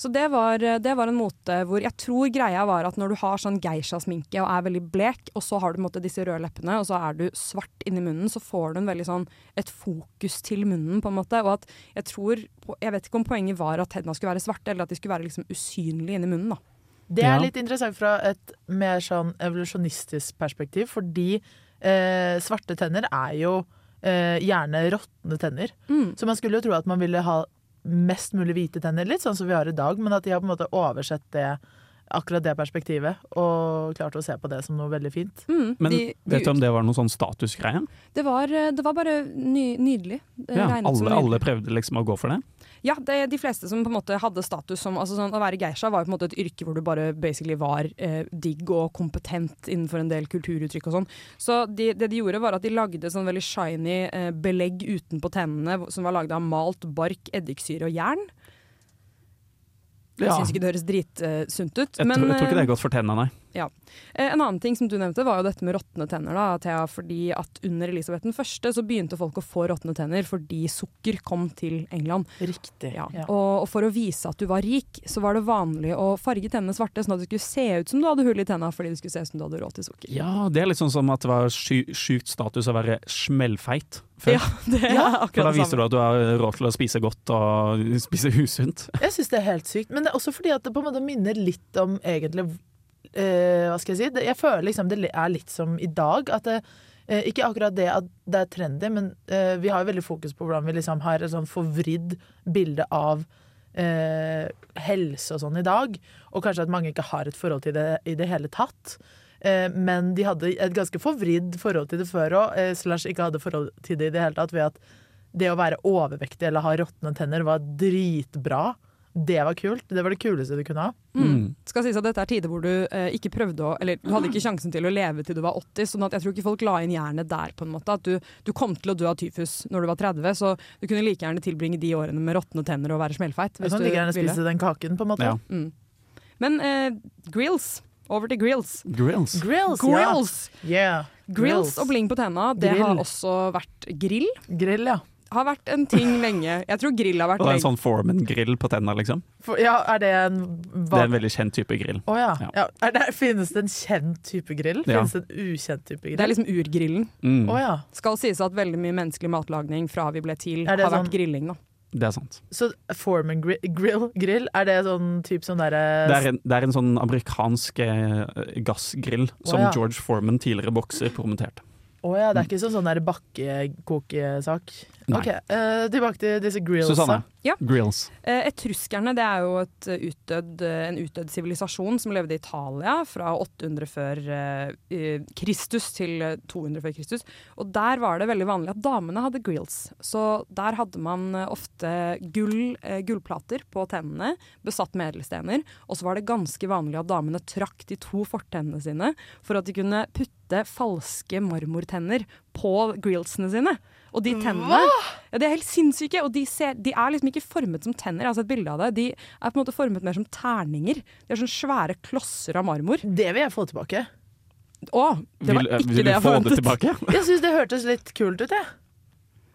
Speaker 8: Så det var, eh, det var en måte hvor jeg tror greia var at når du har sånn geisha-sminke og er veldig blek, og så har du på en måte disse røde leppene, og så er du svart inni munnen, så får du en veldig sånn et fokus til munnen, på en måte. Og at jeg tror po- Jeg vet ikke om poenget var at tennene skulle være svarte, eller at de skulle være liksom usynlige inni munnen, da.
Speaker 9: Det
Speaker 7: Ja.
Speaker 9: er litt interessant fra et mer sånn evolusjonistisk perspektiv, fordi eh, svarte tenner er jo eh, gjerne råtne tenner.
Speaker 8: Mm.
Speaker 9: Så man skulle jo tro at man ville ha mest mulig hvite tenner, litt sånn som vi har i dag, men at de har på en måte oversett det, akkurat det perspektivet, og klart å se på det som noe veldig fint.
Speaker 8: Mm,
Speaker 7: Men
Speaker 8: de- de
Speaker 7: vet du om det var noen sånn statusgreie?
Speaker 8: Det var, eh, det var bare ny, nydelig. Det
Speaker 7: Ja,
Speaker 8: Eh, regnet som
Speaker 7: alle,
Speaker 8: nydelig.
Speaker 7: alle prøvde liksom å gå for det?
Speaker 8: Ja, det, de fleste som på en måte hadde status som altså sånn, Å være geisha var jo på en måte et yrke hvor du bare basically var eh, digg og kompetent innenfor en del kulturuttrykk og sånn. Så de, det de gjorde, var at de lagde sånn veldig shiny eh, belegg utenpå tennene hvor- som var lagd av malt bark, eddiksyre og jern. Jeg
Speaker 7: Ja.
Speaker 8: syns ikke det høres dritsunt ut.
Speaker 7: Jeg,
Speaker 8: men,
Speaker 7: tror, jeg tror ikke det
Speaker 8: eh,
Speaker 7: er godt for tennene, nei.
Speaker 8: Eh, En annen ting som du nevnte var jo dette med råtne tenner. da, Thea, fordi at Under Elisabeth den første så begynte folk å få råtne tenner fordi sukker kom til England.
Speaker 9: Riktig.
Speaker 8: Ja.
Speaker 9: Ja.
Speaker 8: Og, og for å vise at du var rik, så var det vanlig å farge tennene svarte, sånn at det skulle se ut som du hadde hull i tenna fordi det skulle se ut som du hadde råd til sukker.
Speaker 7: Ja, det er litt sånn som at det var sy sykt status å være smellfeit før.
Speaker 8: Ja, det er
Speaker 7: For da
Speaker 8: akkurat det
Speaker 7: viser du
Speaker 8: samme.
Speaker 7: at du har råd til å spise godt og spise usunt.
Speaker 9: Jeg syns det er helt sykt, men det er også fordi at det på en måte minner litt om egentlig eh, Hva skal jeg si? Det- Jeg føler liksom det er litt som i dag. At det, eh, ikke akkurat det at det er trendy, men eh, vi har jo veldig fokus på hvordan vi liksom har et sånn forvridd bilde av eh, helse og sånn i dag. Og kanskje at mange ikke har et forhold til det i det hele tatt. Eh, men de hadde et ganske forvridd forhold til det før òg, eh, slash ikke hadde forhold til det i det hele tatt, ved at det å være overvektig eller ha råtne tenner var dritbra. Det var kult. Det var det kuleste du kunne ha.
Speaker 8: Mm. Skal sies at dette er tider hvor du eh, ikke prøvde å Eller du hadde ikke sjansen til å leve til du var 80, sånn at jeg tror ikke folk la inn jernet der, på en måte. At du, du kom til å dø av tyfus når du var 30, så du kunne like gjerne tilbringe de årene med råtne tenner og være smellfeit.
Speaker 9: Du
Speaker 8: Hvis
Speaker 9: kan
Speaker 8: du
Speaker 9: like gjerne
Speaker 8: ville. Mm.
Speaker 9: spise den kaken, på en måte.
Speaker 7: Ja.
Speaker 8: Men eh, grills. Over til grills.
Speaker 7: Grills.
Speaker 9: Grills,
Speaker 8: Grills!
Speaker 9: ja. Yeah.
Speaker 8: Grills og bling på tenna, det
Speaker 9: Grill.
Speaker 8: har også vært grill.
Speaker 9: Grill, ja.
Speaker 8: har vært en ting lenge. Jeg tror grill har vært
Speaker 7: Og det er en
Speaker 8: lenge.
Speaker 7: sånn Foreman-grill på tenna, liksom.
Speaker 9: For, ja, er det en
Speaker 7: Det
Speaker 9: hva-
Speaker 7: er en veldig kjent type grill.
Speaker 9: Å ja.
Speaker 7: Ja.
Speaker 9: ja. Er det, finnes det en kjent type grill?
Speaker 7: Ja.
Speaker 9: Finnes det en ukjent type grill?
Speaker 8: Det er liksom urgrillen.
Speaker 7: Mm,
Speaker 9: Å ja.
Speaker 8: Skal sies at veldig mye menneskelig matlagning fra vi ble til,
Speaker 9: Er
Speaker 8: har
Speaker 9: det
Speaker 8: vært
Speaker 9: sånn-
Speaker 8: grilling, da.
Speaker 7: Det er sant.
Speaker 9: Så Foreman gri grill, grill, er det sånn type sånn derre
Speaker 7: Det er en, det er en sånn amerikansk eh, gassgrill som
Speaker 9: Å, ja.
Speaker 7: George Foreman, tidligere bokser, promoterte.
Speaker 9: Å ja, det er ikke sånn sånn der bakkekokesak.
Speaker 7: Nei.
Speaker 9: Ok, eh, tilbake til disse grillsa.
Speaker 7: Susanne.
Speaker 8: Ja.
Speaker 7: Grills.
Speaker 8: Eh, Etruskerne det er jo et eh, utdødd, eh, en utdødd sivilisasjon som levde i Italia fra 800 før eh, eh, Kristus til eh, 200 før Kristus. Og der var det veldig vanlig at damene hadde grills. Så der hadde man eh, ofte gull, eh, gullplater på tennene, besatt med edelstener. Og så var det ganske vanlig at damene trakk de to fortennene sine for at de kunne putte falske marmortenner på grillsene sine. Og de tennene ja, De er helt sinnssyke, og de, ser, de er liksom ikke formet som tenner. Jeg har sett bilde av det. De er på en måte formet mer som terninger. De er sånne svære klosser av marmor.
Speaker 9: Det vil jeg få tilbake.
Speaker 8: Å, det var
Speaker 7: Vil- eh,
Speaker 8: ikke
Speaker 7: vil du
Speaker 8: det jeg
Speaker 7: få det
Speaker 8: forventet.
Speaker 7: tilbake?
Speaker 9: Jeg syns det hørtes litt kult ut, jeg.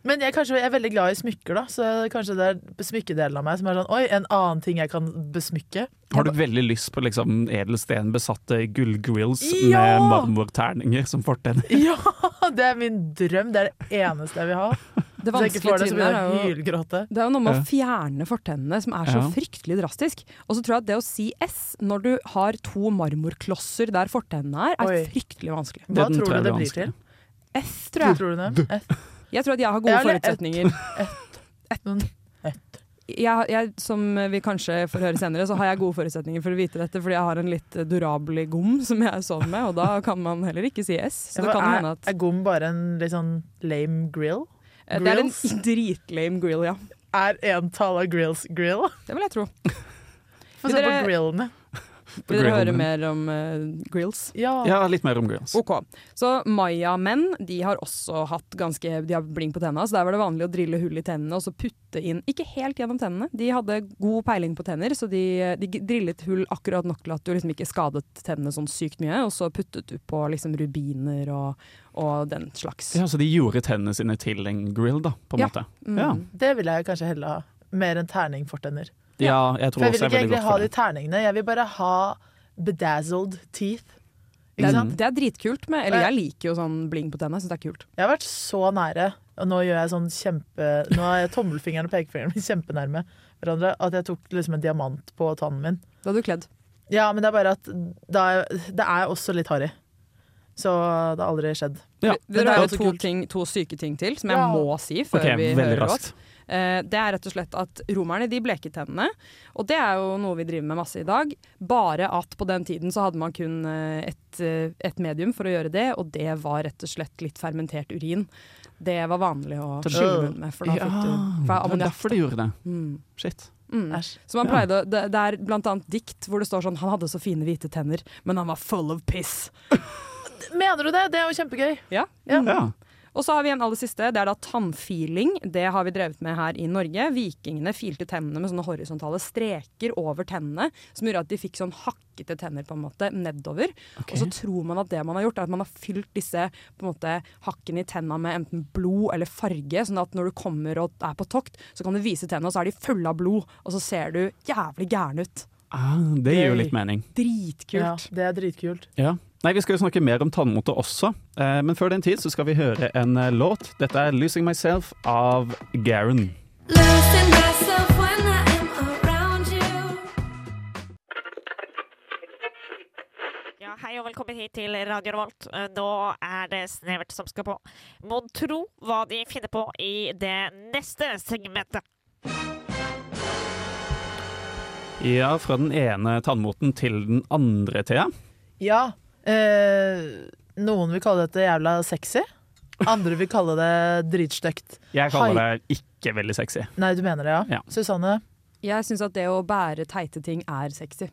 Speaker 9: Men jeg, kanskje, jeg er veldig glad i smykker, da, så kanskje det er smykkedelen av meg som er sånn Oi, en annen ting jeg kan besmykke.
Speaker 7: Har du veldig lyst på liksom edelstenbesatte gullgrills
Speaker 9: Ja!
Speaker 7: med marmorterninger som fortenner?
Speaker 9: Ja! Det er min drøm. Det er det eneste jeg vil ha.
Speaker 8: det
Speaker 9: Hvis jeg ikke får
Speaker 8: vanskelige
Speaker 9: det, så
Speaker 8: trinnet
Speaker 9: blir
Speaker 8: er
Speaker 9: jeg
Speaker 8: jo
Speaker 9: hylgråte.
Speaker 8: det er jo noe med
Speaker 7: Ja.
Speaker 8: å fjerne fortennene, som er så
Speaker 7: Ja.
Speaker 8: fryktelig drastisk. Og så tror jeg at det å si S når du har to marmorklosser der fortennene er,
Speaker 9: Oi.
Speaker 8: er fryktelig vanskelig.
Speaker 9: Hva
Speaker 7: Den
Speaker 9: tror du
Speaker 7: jeg blir
Speaker 9: det blir
Speaker 7: vanskelig.
Speaker 9: til?
Speaker 8: F, tror jeg.
Speaker 9: Tror du det? Et,
Speaker 8: Jeg tror at jeg har
Speaker 9: Ja,
Speaker 8: gode
Speaker 9: eller et.
Speaker 8: forutsetninger.
Speaker 9: noen
Speaker 8: jeg, jeg, som vi kanskje får høre senere, så har jeg gode forutsetninger for å vite dette, fordi jeg har en litt eh, durabel gom som jeg sover med, og da kan man heller ikke si S. Så
Speaker 9: Ja,
Speaker 8: det
Speaker 9: for
Speaker 8: kan
Speaker 9: er,
Speaker 8: hende at
Speaker 9: er gom bare en litt sånn lame grill?
Speaker 8: eh, Det er en
Speaker 9: grills?
Speaker 8: dritlame grill, ja.
Speaker 9: Er en tall av grills grill?
Speaker 8: Det vil jeg tro.
Speaker 9: Få
Speaker 8: Vil
Speaker 9: se på
Speaker 8: dere-
Speaker 9: grillene.
Speaker 8: Vil dere høre
Speaker 7: Grillene.
Speaker 8: mer om eh, grills?
Speaker 9: Ja.
Speaker 7: Ja, litt mer om grills.
Speaker 8: Ok, Så maya-menn de har også hatt ganske De har bling på tennene, så der var det vanlig å drille hull i tennene og så putte inn Ikke helt gjennom tennene, de hadde god peiling på tenner, så de, de drillet hull akkurat nok til at du liksom ikke skadet tennene sånn sykt mye, og så puttet du på liksom rubiner og, og den slags.
Speaker 7: Ja, så de gjorde tennene sine til en grill, da, på en
Speaker 8: Ja.
Speaker 7: måte.
Speaker 8: Mm.
Speaker 7: Ja.
Speaker 9: Det vil jeg kanskje heller ha. Mer enn terning fortenner.
Speaker 7: ja, jeg tror
Speaker 9: For jeg
Speaker 7: også jeg
Speaker 9: vil ikke
Speaker 7: er veldig
Speaker 9: egentlig
Speaker 7: godt
Speaker 9: ha
Speaker 7: for
Speaker 9: de
Speaker 7: det.
Speaker 9: terningene, jeg vil bare ha bedazzled teeth.
Speaker 8: Det
Speaker 7: Mm.
Speaker 9: Ikke
Speaker 8: er,
Speaker 9: sant?
Speaker 8: det er dritkult med Eller jeg liker jo sånn bling på tennene, jeg syns det er kult.
Speaker 9: Jeg har vært så nære, og nå gjør jeg sånn kjempe Nå er jeg tommelfingeren og pekefingeren min kjempenærme hverandre, at jeg tok liksom en diamant på tannen min.
Speaker 8: Da hadde du kledd.
Speaker 9: Ja, men det er bare at da, det er også litt harry. Så det har aldri skjedd.
Speaker 7: Ja.
Speaker 8: Vil
Speaker 9: det er
Speaker 8: dere høre
Speaker 9: også
Speaker 8: to,
Speaker 9: kult.
Speaker 8: ting, to syke ting til, som jeg
Speaker 9: Ja.
Speaker 8: må si før
Speaker 7: Ok,
Speaker 8: vi
Speaker 7: veldig
Speaker 8: hører låt?
Speaker 7: raskt.
Speaker 8: Eh, Det er rett og slett at romerne de bleket tennene, og det er jo noe vi driver med masse i dag. Bare at på den tiden så hadde man kun eh, et, eh, et medium for å gjøre det, og det var rett og slett litt fermentert urin. Det var vanlig å skylle munnen med, for da
Speaker 7: Ja,
Speaker 8: fikk du for
Speaker 7: det
Speaker 8: det er
Speaker 7: var
Speaker 8: ammoniakk.
Speaker 7: derfor de gjorde det.
Speaker 8: Mm.
Speaker 7: Shit.
Speaker 8: Mm.
Speaker 9: Æsj.
Speaker 8: Så man
Speaker 7: Ja.
Speaker 8: pleide, å- det, det er blant annet dikt hvor det står sånn Han hadde så fine hvite tenner, men han var full of piss.
Speaker 9: Mener du det? Det er jo kjempegøy.
Speaker 8: Ja,
Speaker 7: Ja.
Speaker 8: Og så har vi en aller siste. Det er da tannfiling. Det har vi drevet med her i Norge. Vikingene filte tennene med sånne horisontale streker over tennene, som gjorde at de fikk sånn hakkete tenner på en måte nedover. Og så tror man at det man har gjort, er at man har fylt disse på en måte, hakkene i tennene med enten blod eller farge, sånn at når du kommer og er på tokt, så kan du vise tennene, og så er de fulle av blod, og så ser du jævlig gæren ut.
Speaker 7: Ah, det gir jo
Speaker 9: Gøy.
Speaker 7: litt mening.
Speaker 9: Ja,
Speaker 8: Dritkult.
Speaker 9: det er dritkult.
Speaker 7: Ja. Nei, Vi skal jo snakke mer om tannmote også, eh, men før den tid så skal vi høre en eh, låt. Dette er 'Losing Myself' av Garen.
Speaker 1: Losing myself when I am around you.
Speaker 10: Ja, hei og velkommen hit til Radio Revolt. Eh, Nå er det Snevert som skal på. Må tro hva de finner på i det neste segmentet.
Speaker 7: Ja, fra den ene tannmoten til den andre, Thea.
Speaker 9: Ja. Eh, noen vil kalle dette jævla sexy. Andre vil kalle det dritstygt.
Speaker 7: Jeg kaller det ikke veldig sexy.
Speaker 9: Nei, du mener det, ja?
Speaker 7: Ja.
Speaker 9: Susanne,
Speaker 8: Jeg syns at det å bære teite ting er sexy.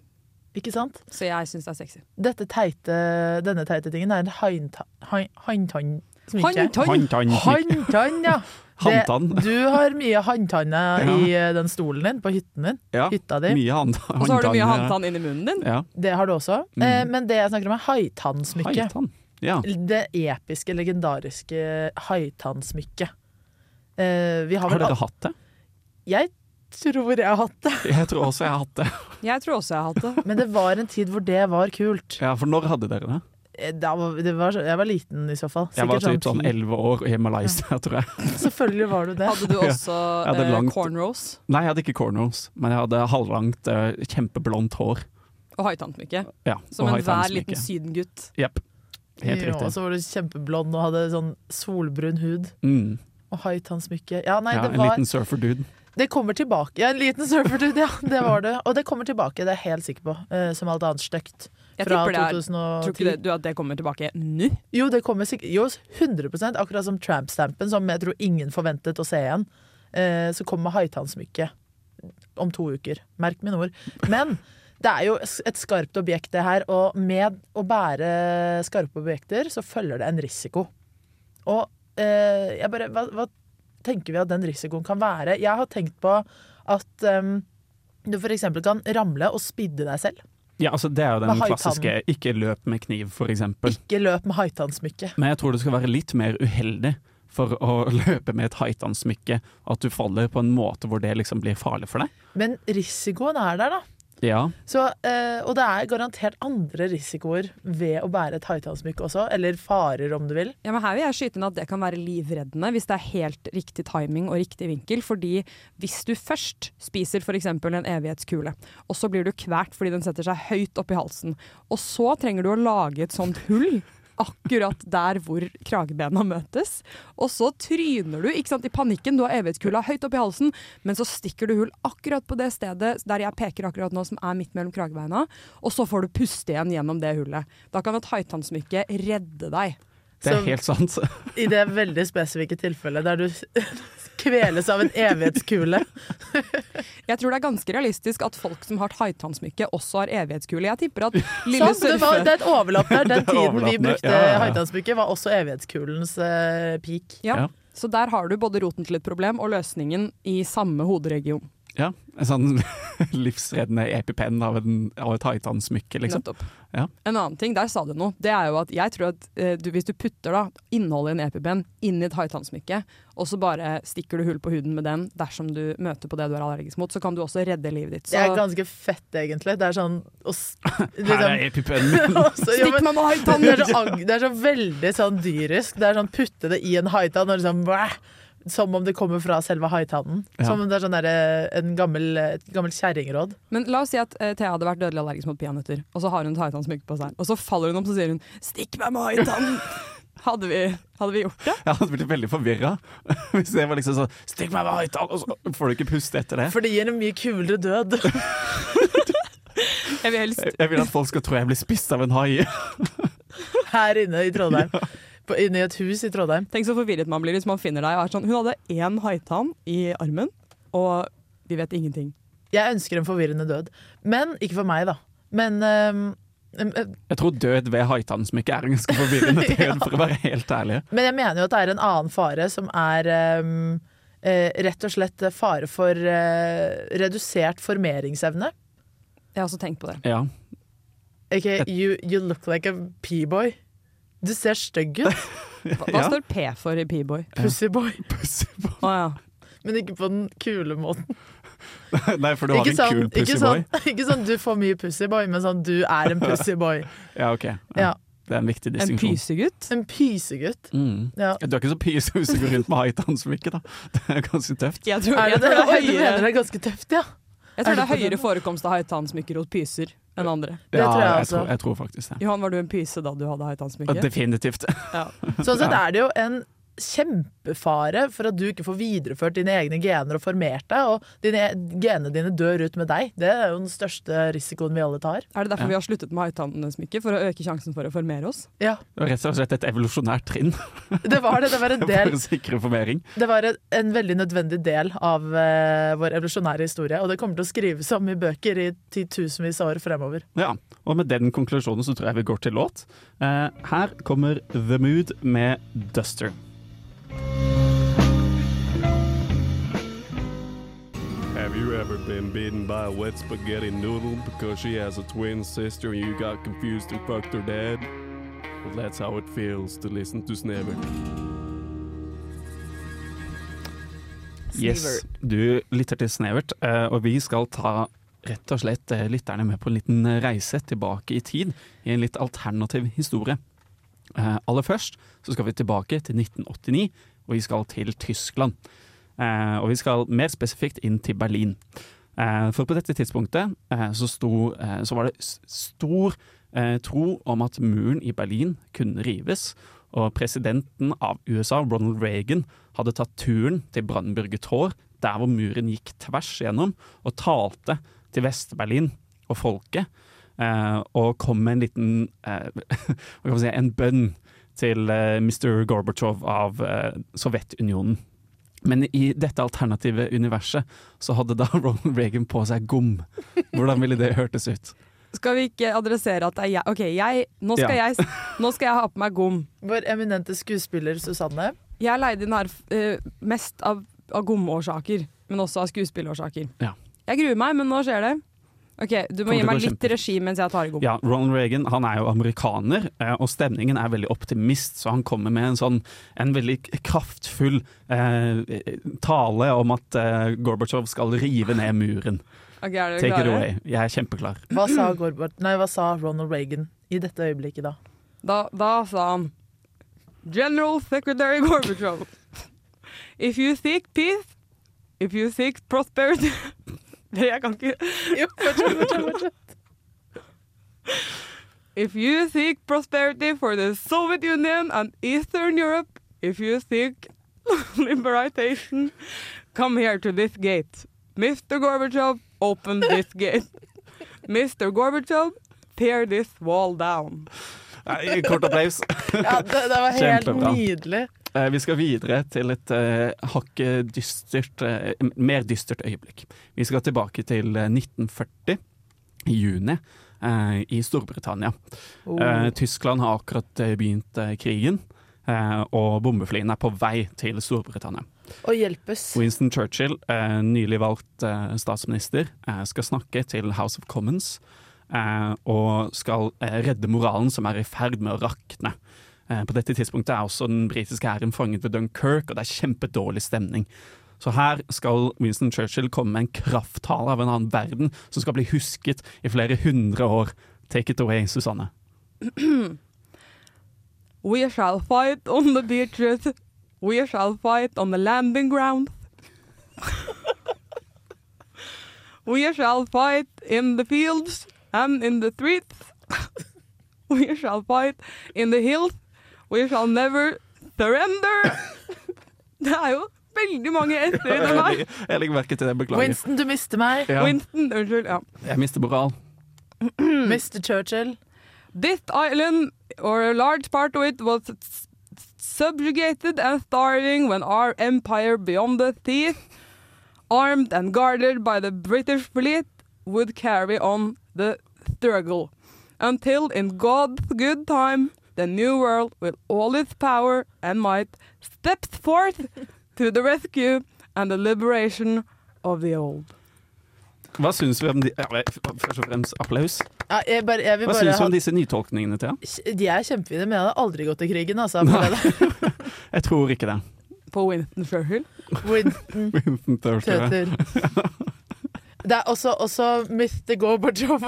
Speaker 9: ikke sant?
Speaker 8: Så jeg syns det er sexy.
Speaker 9: Dette teite, denne teite tingen er en heinta- hein- hanntann-sminke.
Speaker 8: Håndtann!
Speaker 9: Hanntann, ja! Det-
Speaker 7: Hanntann.
Speaker 9: Du har mye hanntanner
Speaker 7: Ja.
Speaker 9: i eh, den stolen din, på hytten din.
Speaker 7: Ja,
Speaker 9: Hytta di.
Speaker 7: mye hand-
Speaker 8: Og så har du mye
Speaker 7: håndtann,
Speaker 8: håndtann inni munnen din.
Speaker 7: Ja.
Speaker 9: Det har du også.
Speaker 7: Mm.
Speaker 9: Eh, men det jeg snakker om, er haitannsmykket.
Speaker 7: Haitann. Ja.
Speaker 9: Det episke, legendariske haitannsmykket. eh, vi har
Speaker 7: Har
Speaker 9: vel
Speaker 7: dere hatt det?
Speaker 9: Jeg tror jeg har hatt det.
Speaker 7: Jeg tror også jeg har hatt det.
Speaker 8: Jeg tror også jeg har hatt det.
Speaker 9: Men det var en tid hvor det var kult.
Speaker 7: Ja, For når hadde dere det?
Speaker 9: Eh, Da var, det var, så- jeg var liten i så fall.
Speaker 7: Jeg var typ sånn
Speaker 9: ti.
Speaker 7: elleve år i Malaysia, tror jeg.
Speaker 9: Selvfølgelig var du det.
Speaker 8: Hadde du også
Speaker 7: Ja, det er
Speaker 8: eh,
Speaker 7: langt.
Speaker 8: cornrows
Speaker 7: Nei, jeg hadde ikke cornrows, men jeg hadde halvlangt, eh, kjempeblondt hår.
Speaker 8: og høytannsmykke?
Speaker 7: Ja,
Speaker 8: Som
Speaker 7: og
Speaker 8: enhver
Speaker 7: high-times-smykke.
Speaker 8: liten sydengutt.
Speaker 7: Jepp. Helt
Speaker 9: Jo, Og
Speaker 7: riktig.
Speaker 9: så var du kjempeblond og hadde sånn solbrun hud
Speaker 7: Mm.
Speaker 9: og høytannsmykke. Ja, nei,
Speaker 7: Ja,
Speaker 9: det
Speaker 7: en
Speaker 9: var
Speaker 7: liten surfer-dude.
Speaker 9: Det kommer tilbake. Ja, en liten surferdude, ja. Det var det. Og det kommer tilbake, det er jeg helt sikker på. eh, som alt annet stygt.
Speaker 8: Jeg
Speaker 9: Fra
Speaker 8: tipper det er- Tror ikke
Speaker 9: 2010.
Speaker 8: det, du at det kommer tilbake nå?
Speaker 9: Jo, det kommer sikkert Jo, 100 akkurat som tramp-stampen, som jeg tror ingen forventet å se igjen. Eh, så kommer høytannsmykket om to uker. Merk mine ord. Men det er jo s- et skarpt objekt, det her. Og med å bære skarpe objekter, så følger det en risiko. Og eh, jeg bare hva, hva tenker vi at den risikoen kan være? Jeg har tenkt på at em, du f.eks. kan ramle og spidde deg selv.
Speaker 7: Ja, altså Det er jo den
Speaker 9: Med high-tann.
Speaker 7: klassiske 'ikke løp med kniv', for eksempel.
Speaker 9: Ikke løp med høytannsmykke.
Speaker 7: Men jeg tror du skal være litt mer uheldig for å løpe med et haitansmykke, at du faller på en måte hvor det liksom blir farlig for deg.
Speaker 9: Men risikoen er der, da.
Speaker 7: Ja,
Speaker 9: Så, eh, og det er garantert andre risikoer ved å bære et høyttalssmykke også, eller farer om du vil.
Speaker 8: Ja, men her vil jeg skyte inn at det kan være livreddende hvis det er helt riktig timing og riktig vinkel. Fordi hvis du først spiser f.eks. en evighetskule, og så blir du kvært fordi den setter seg høyt opp i halsen, og så trenger du å lage et sånt hull. Akkurat der hvor kragebena møtes. Og så tryner du ikke sant, i panikken. Du har evighetskula høyt opp i halsen, men så stikker du hull akkurat på det stedet der jeg peker akkurat nå, som er midt mellom kragebeina. Og så får du puste igjen gjennom det hullet. Da kan et haitannsmykke redde deg.
Speaker 7: det er
Speaker 9: Så-
Speaker 7: helt sant.
Speaker 9: I det veldig spesifikke tilfellet der du kveles av en evighetskule.
Speaker 8: Jeg tror det er ganske realistisk at folk som har haitannsmykke, også har evighetskule. Jeg tipper at lille
Speaker 9: Sånn, det, var,
Speaker 8: surfe...
Speaker 9: det er et overlapp der. Den
Speaker 7: Det er
Speaker 9: tiden vi
Speaker 7: overlappende,
Speaker 9: brukte
Speaker 7: ja, ja, ja.
Speaker 9: høyttalssmykke, var også evighetskulens eh, peak.
Speaker 8: Ja.
Speaker 7: Ja.
Speaker 8: Så der har du både roten til et problem og løsningen i samme hoderegion.
Speaker 7: Ja, En sånn livsreddende epipenn av, en, av et haitansmykke, liksom.
Speaker 8: Nettopp.
Speaker 7: Ja.
Speaker 8: En annen ting, der sa du noe. Det er jo at jeg tror at eh, du, hvis du putter da, innholdet i en EpiPen inn i et haitannsmykke, og så bare stikker du hull på huden med den dersom du møter på det du er allergisk mot, så kan du også redde livet ditt.
Speaker 9: Det er
Speaker 8: Så
Speaker 9: ganske fett, egentlig. Det er sånn å s-
Speaker 7: Her er
Speaker 9: liksom,
Speaker 7: epipennen min!
Speaker 9: også, ja,
Speaker 8: stikk meg
Speaker 9: men,
Speaker 8: med
Speaker 9: det, er
Speaker 8: haitann!
Speaker 9: så, ag- det er så veldig sånn dyrisk. Det er sånn putte det i en haitann og liksom bæh, Som om det kommer fra selve haitannen.
Speaker 7: Ja.
Speaker 9: Som om det er sånn derre- en gammel, et gammelt kjerringråd.
Speaker 8: Men la oss si at eh, Thea hadde vært dødelig allergisk mot peanøtter, og så har hun et haitannsmykke på seg. Og så faller hun om, så sier hun 'stikk meg med haitann'! Hadde vi, hadde vi gjort det?
Speaker 7: Jeg hadde blitt veldig forvirra hvis det var liksom sånn Stikk meg med høyttaler, og så får du ikke puste etter det.
Speaker 9: For det gir en mye kulere død.
Speaker 8: Jeg vil helst
Speaker 7: Jeg vil at folk skal tro jeg blir spist av en hai.
Speaker 9: Her inne i Trondheim. På, inne i et hus i Trondheim.
Speaker 8: Tenk så forvirret man blir hvis man finner deg og er sånn Hun hadde én haitann i armen, og vi vet ingenting.
Speaker 9: Jeg ønsker en forvirrende død. Men ikke for meg, da. Men ehm, eh, øhm, øhm,
Speaker 7: Jeg tror død ved haitannsmykke er en ganske forvirrende død, for å være helt ærlig.
Speaker 9: Men jeg mener jo at det er en annen fare som er øhm, eh, rett og slett fare for eh, redusert formeringsevne.
Speaker 8: Jeg har også tenkt på det.
Speaker 7: Ja.
Speaker 9: Ikke you, you look like a p-boy. Du ser stygg ut,
Speaker 8: Hva, hva
Speaker 7: Ja.
Speaker 8: står P for i P-boy?
Speaker 9: pussyboy.
Speaker 7: Pussyboy.
Speaker 8: Å ja.
Speaker 9: Men ikke på den kule måten.
Speaker 7: Nei, for du har
Speaker 9: ikke,
Speaker 7: en
Speaker 9: sånn,
Speaker 7: kul
Speaker 9: ikke, sånn,
Speaker 7: pussyboy.
Speaker 9: ikke sånn du får mye pussyboy, men sånn du er en pussyboy.
Speaker 7: Ja, ok. Ja.
Speaker 9: Ja.
Speaker 7: Det er en viktig
Speaker 8: En
Speaker 7: distinksjon.
Speaker 8: pysegutt?
Speaker 9: En pysegutt.
Speaker 7: Mm.
Speaker 9: Ja.
Speaker 7: Du er ikke så pyse hvis du går rundt med haitannsmykke, da. Det er ganske tøft.
Speaker 8: Jeg tror,
Speaker 9: Er
Speaker 8: jeg
Speaker 9: det det?
Speaker 8: tror, det, er
Speaker 9: Du mener det
Speaker 8: høyere,
Speaker 9: er ganske tøft, ja.
Speaker 8: jeg tror det er høyere forekomst av haitannsmykker hos pyser enn andre.
Speaker 9: Det tror jeg også.
Speaker 7: tror, jeg tror faktisk det.
Speaker 8: Johan, var du en pyse da du hadde
Speaker 7: Ja,
Speaker 8: haitannsmykke?
Speaker 7: definitivt.
Speaker 8: Ja.
Speaker 9: Sånn sett er det jo en kjempefare for at du ikke får videreført dine egne gener og formert deg, og dine, e-, genene dine dør ut med deg. Det er jo den største risikoen vi alle tar.
Speaker 8: Er det derfor
Speaker 7: Ja.
Speaker 8: vi har sluttet med haitannsmykke? For å øke sjansen for å formere oss?
Speaker 9: Ja,
Speaker 7: Det var rett og slett et evolusjonært trinn
Speaker 9: det var det. Det var en,
Speaker 7: for
Speaker 9: del,
Speaker 7: å sikre formering.
Speaker 9: det var en, en veldig nødvendig del av eh, vår evolusjonære historie, og det kommer til å skrives om i bøker i titusenvis av år fremover.
Speaker 7: Ja, og med den konklusjonen så tror jeg vi går til låt. Eh, her kommer The Mood med Duster.
Speaker 11: Have you ever been bitten by a wet spaghetti noodle because she has a twin sister and you got confused and fucked her dad? Well, that's how it feels to listen to Snevert.
Speaker 7: Yes, du lytter til Snevert, eh, og vi skal ta rett og slett eh, lytterne med på en liten reise tilbake i tid, i en litt alternativ historie. Eh, Aller først så skal vi tilbake til 1989, og vi skal til Tyskland. Eh, Og vi skal mer spesifikt inn til Berlin. Eh, For på dette tidspunktet eh, så, sto, eh, så var det s- stor eh, tro om at muren i Berlin kunne rives, og presidenten av USA, Ronald Reagan, hadde tatt turen til Brandenburger Tor, der hvor muren gikk tvers gjennom, og talte til Vest-Berlin og folket, eh, og kom med en liten eh, hva kan man si, en bønn til eh, Mr. Gorbatsjov av eh, Sovjetunionen. Men i dette alternative universet så hadde da Ronald Reagan på seg gom. Hvordan ville det hørtes ut?
Speaker 8: Skal vi ikke adressere at det er jeg Ok, jeg, nå, skal
Speaker 7: Ja.
Speaker 8: jeg, nå skal jeg ha på meg gom.
Speaker 9: Vår eminente skuespiller Susanne.
Speaker 8: Jeg leide inn her eh, mest av, av gomårsaker, men også av skuespilleårsaker.
Speaker 7: Ja.
Speaker 8: Jeg gruer meg, men nå skjer det. Ok, Du må
Speaker 7: Kommer til å
Speaker 8: gi
Speaker 7: gå
Speaker 8: meg litt
Speaker 7: kjempefint.
Speaker 8: regi mens jeg tar i gom.
Speaker 7: Ja, Ronald Reagan han er jo amerikaner, eh, og stemningen er veldig optimist, så han kommer med en sånn en veldig kraftfull eh, tale om at eh, Gorbatsjov skal rive ned muren.
Speaker 8: Ok, er dere
Speaker 7: Take it
Speaker 8: klare?
Speaker 7: away. Jeg er kjempeklar.
Speaker 9: Hva sa, Gorbat, nei, hva sa Ronald Reagan i dette øyeblikket da?
Speaker 8: Da, da sa han General Secretary Gorbachev If you seek peace If you seek prosperity Det jeg kan ikke
Speaker 9: Jo, fortsett, fortsett, fortsett.
Speaker 8: If you seek prosperity for the Soviet Union and Eastern Europe If you seek liberation Come here to this gate Mr. Gorbachev, open this gate Mr. Gorbachev, tear this wall down
Speaker 7: Nei, Kort applaus.
Speaker 9: Ja, det, det var helt
Speaker 7: Kjempebra.
Speaker 9: nydelig.
Speaker 7: Eh, Vi skal videre til et eh, hakket dystert, eh, m- mer dystert øyeblikk. Vi skal tilbake til eh, 1940, i juni, eh, i Storbritannia.
Speaker 9: Oh.
Speaker 7: Eh, Tyskland har akkurat eh, begynt eh, krigen, eh, og bombeflyene er på vei til Storbritannia.
Speaker 9: Og hjelpes.
Speaker 7: Winston Churchill, eh, nylig valgt eh, statsminister, eh, skal snakke til House of Commons eh, og skal eh, redde moralen som er i ferd med å rakne. Eh, på dette tidspunktet er også den britiske hæren fanget ved Dunkerque, og det er kjempedårlig stemning. Så her skal Winston Churchill komme med en krafttale av en annen verden som skal bli husket i flere hundre år. Take it away, Susanne.
Speaker 8: We shall fight on the beaches. We shall fight on the landing grounds. we shall fight in the fields and in the streets. we shall fight in the hills. We shall never surrender. Det er jo veldig mange s-er i den her.
Speaker 7: Jeg legger merke til det, beklager.
Speaker 9: Winston, du mister meg.
Speaker 7: Ja,
Speaker 8: Winston, unnskyld. Ja.
Speaker 7: jeg mister moral.
Speaker 9: Mr. Mm. Churchill.
Speaker 8: This island, or a large part of it, was s- subjugated and starving when our empire beyond the seas, armed and guarded by the British fleet, would carry on the struggle. Until, in God's good time, the new world, with all its power and might, steps forth to the rescue and the liberation of the old.
Speaker 7: Hva syns vi om de ja, Først og fremst applaus.
Speaker 9: Ja, jeg, bare, jeg vil
Speaker 7: Hva
Speaker 9: bare
Speaker 7: syns du
Speaker 9: ha-
Speaker 7: om disse nytolkningene, Thea?
Speaker 9: De er kjempefine, men jeg hadde aldri gått i krigen. Altså, på det der.
Speaker 7: Jeg tror ikke det.
Speaker 8: På Winston Churchill.
Speaker 9: Winston
Speaker 7: Winston Churchill.
Speaker 9: Tøter. Det er også, også Mr. Gorbachev.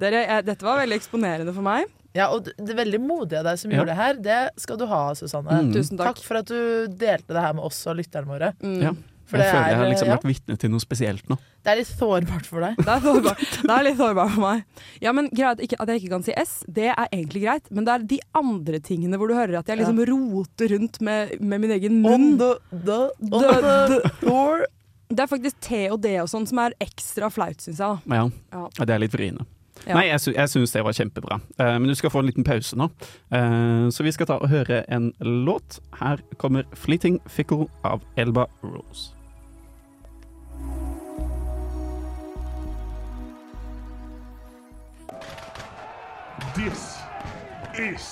Speaker 8: Dere, eh, dette var veldig eksponerende for meg.
Speaker 9: Ja, og det er veldig modig av deg som
Speaker 7: Ja.
Speaker 9: gjorde det her. Det skal du ha, Susanne.
Speaker 7: Mm.
Speaker 8: Tusen takk.
Speaker 9: for at du delte det her med oss og lytterne våre.
Speaker 8: Mm.
Speaker 7: Ja. jeg
Speaker 9: For det
Speaker 7: føler jeg
Speaker 9: er,
Speaker 7: har liksom
Speaker 9: ja.
Speaker 7: vært vitne til noe spesielt nå.
Speaker 9: Det er litt sårbart for deg.
Speaker 8: Det er, sårbar. det er litt sårbar for meg. Ja, men greit, ikke, At jeg ikke kan si S, det er egentlig greit. Men det er de andre tingene hvor du hører at jeg liksom roter rundt med, med min egen munn.
Speaker 9: On the, the, on
Speaker 8: The-
Speaker 9: the,
Speaker 8: Det er faktisk T og D og sånn som er ekstra flaut, syns jeg. da.
Speaker 7: Ja.
Speaker 8: Ja.
Speaker 7: Ja, det er litt vriene.
Speaker 8: Ja.
Speaker 7: Nei, jeg, sy jeg syns det var kjempebra. Eh, men du skal få en liten pause nå. Eh, så vi skal ta og høre en låt. Her kommer 'Fleeting Fickle' av Elba Rose.
Speaker 11: This is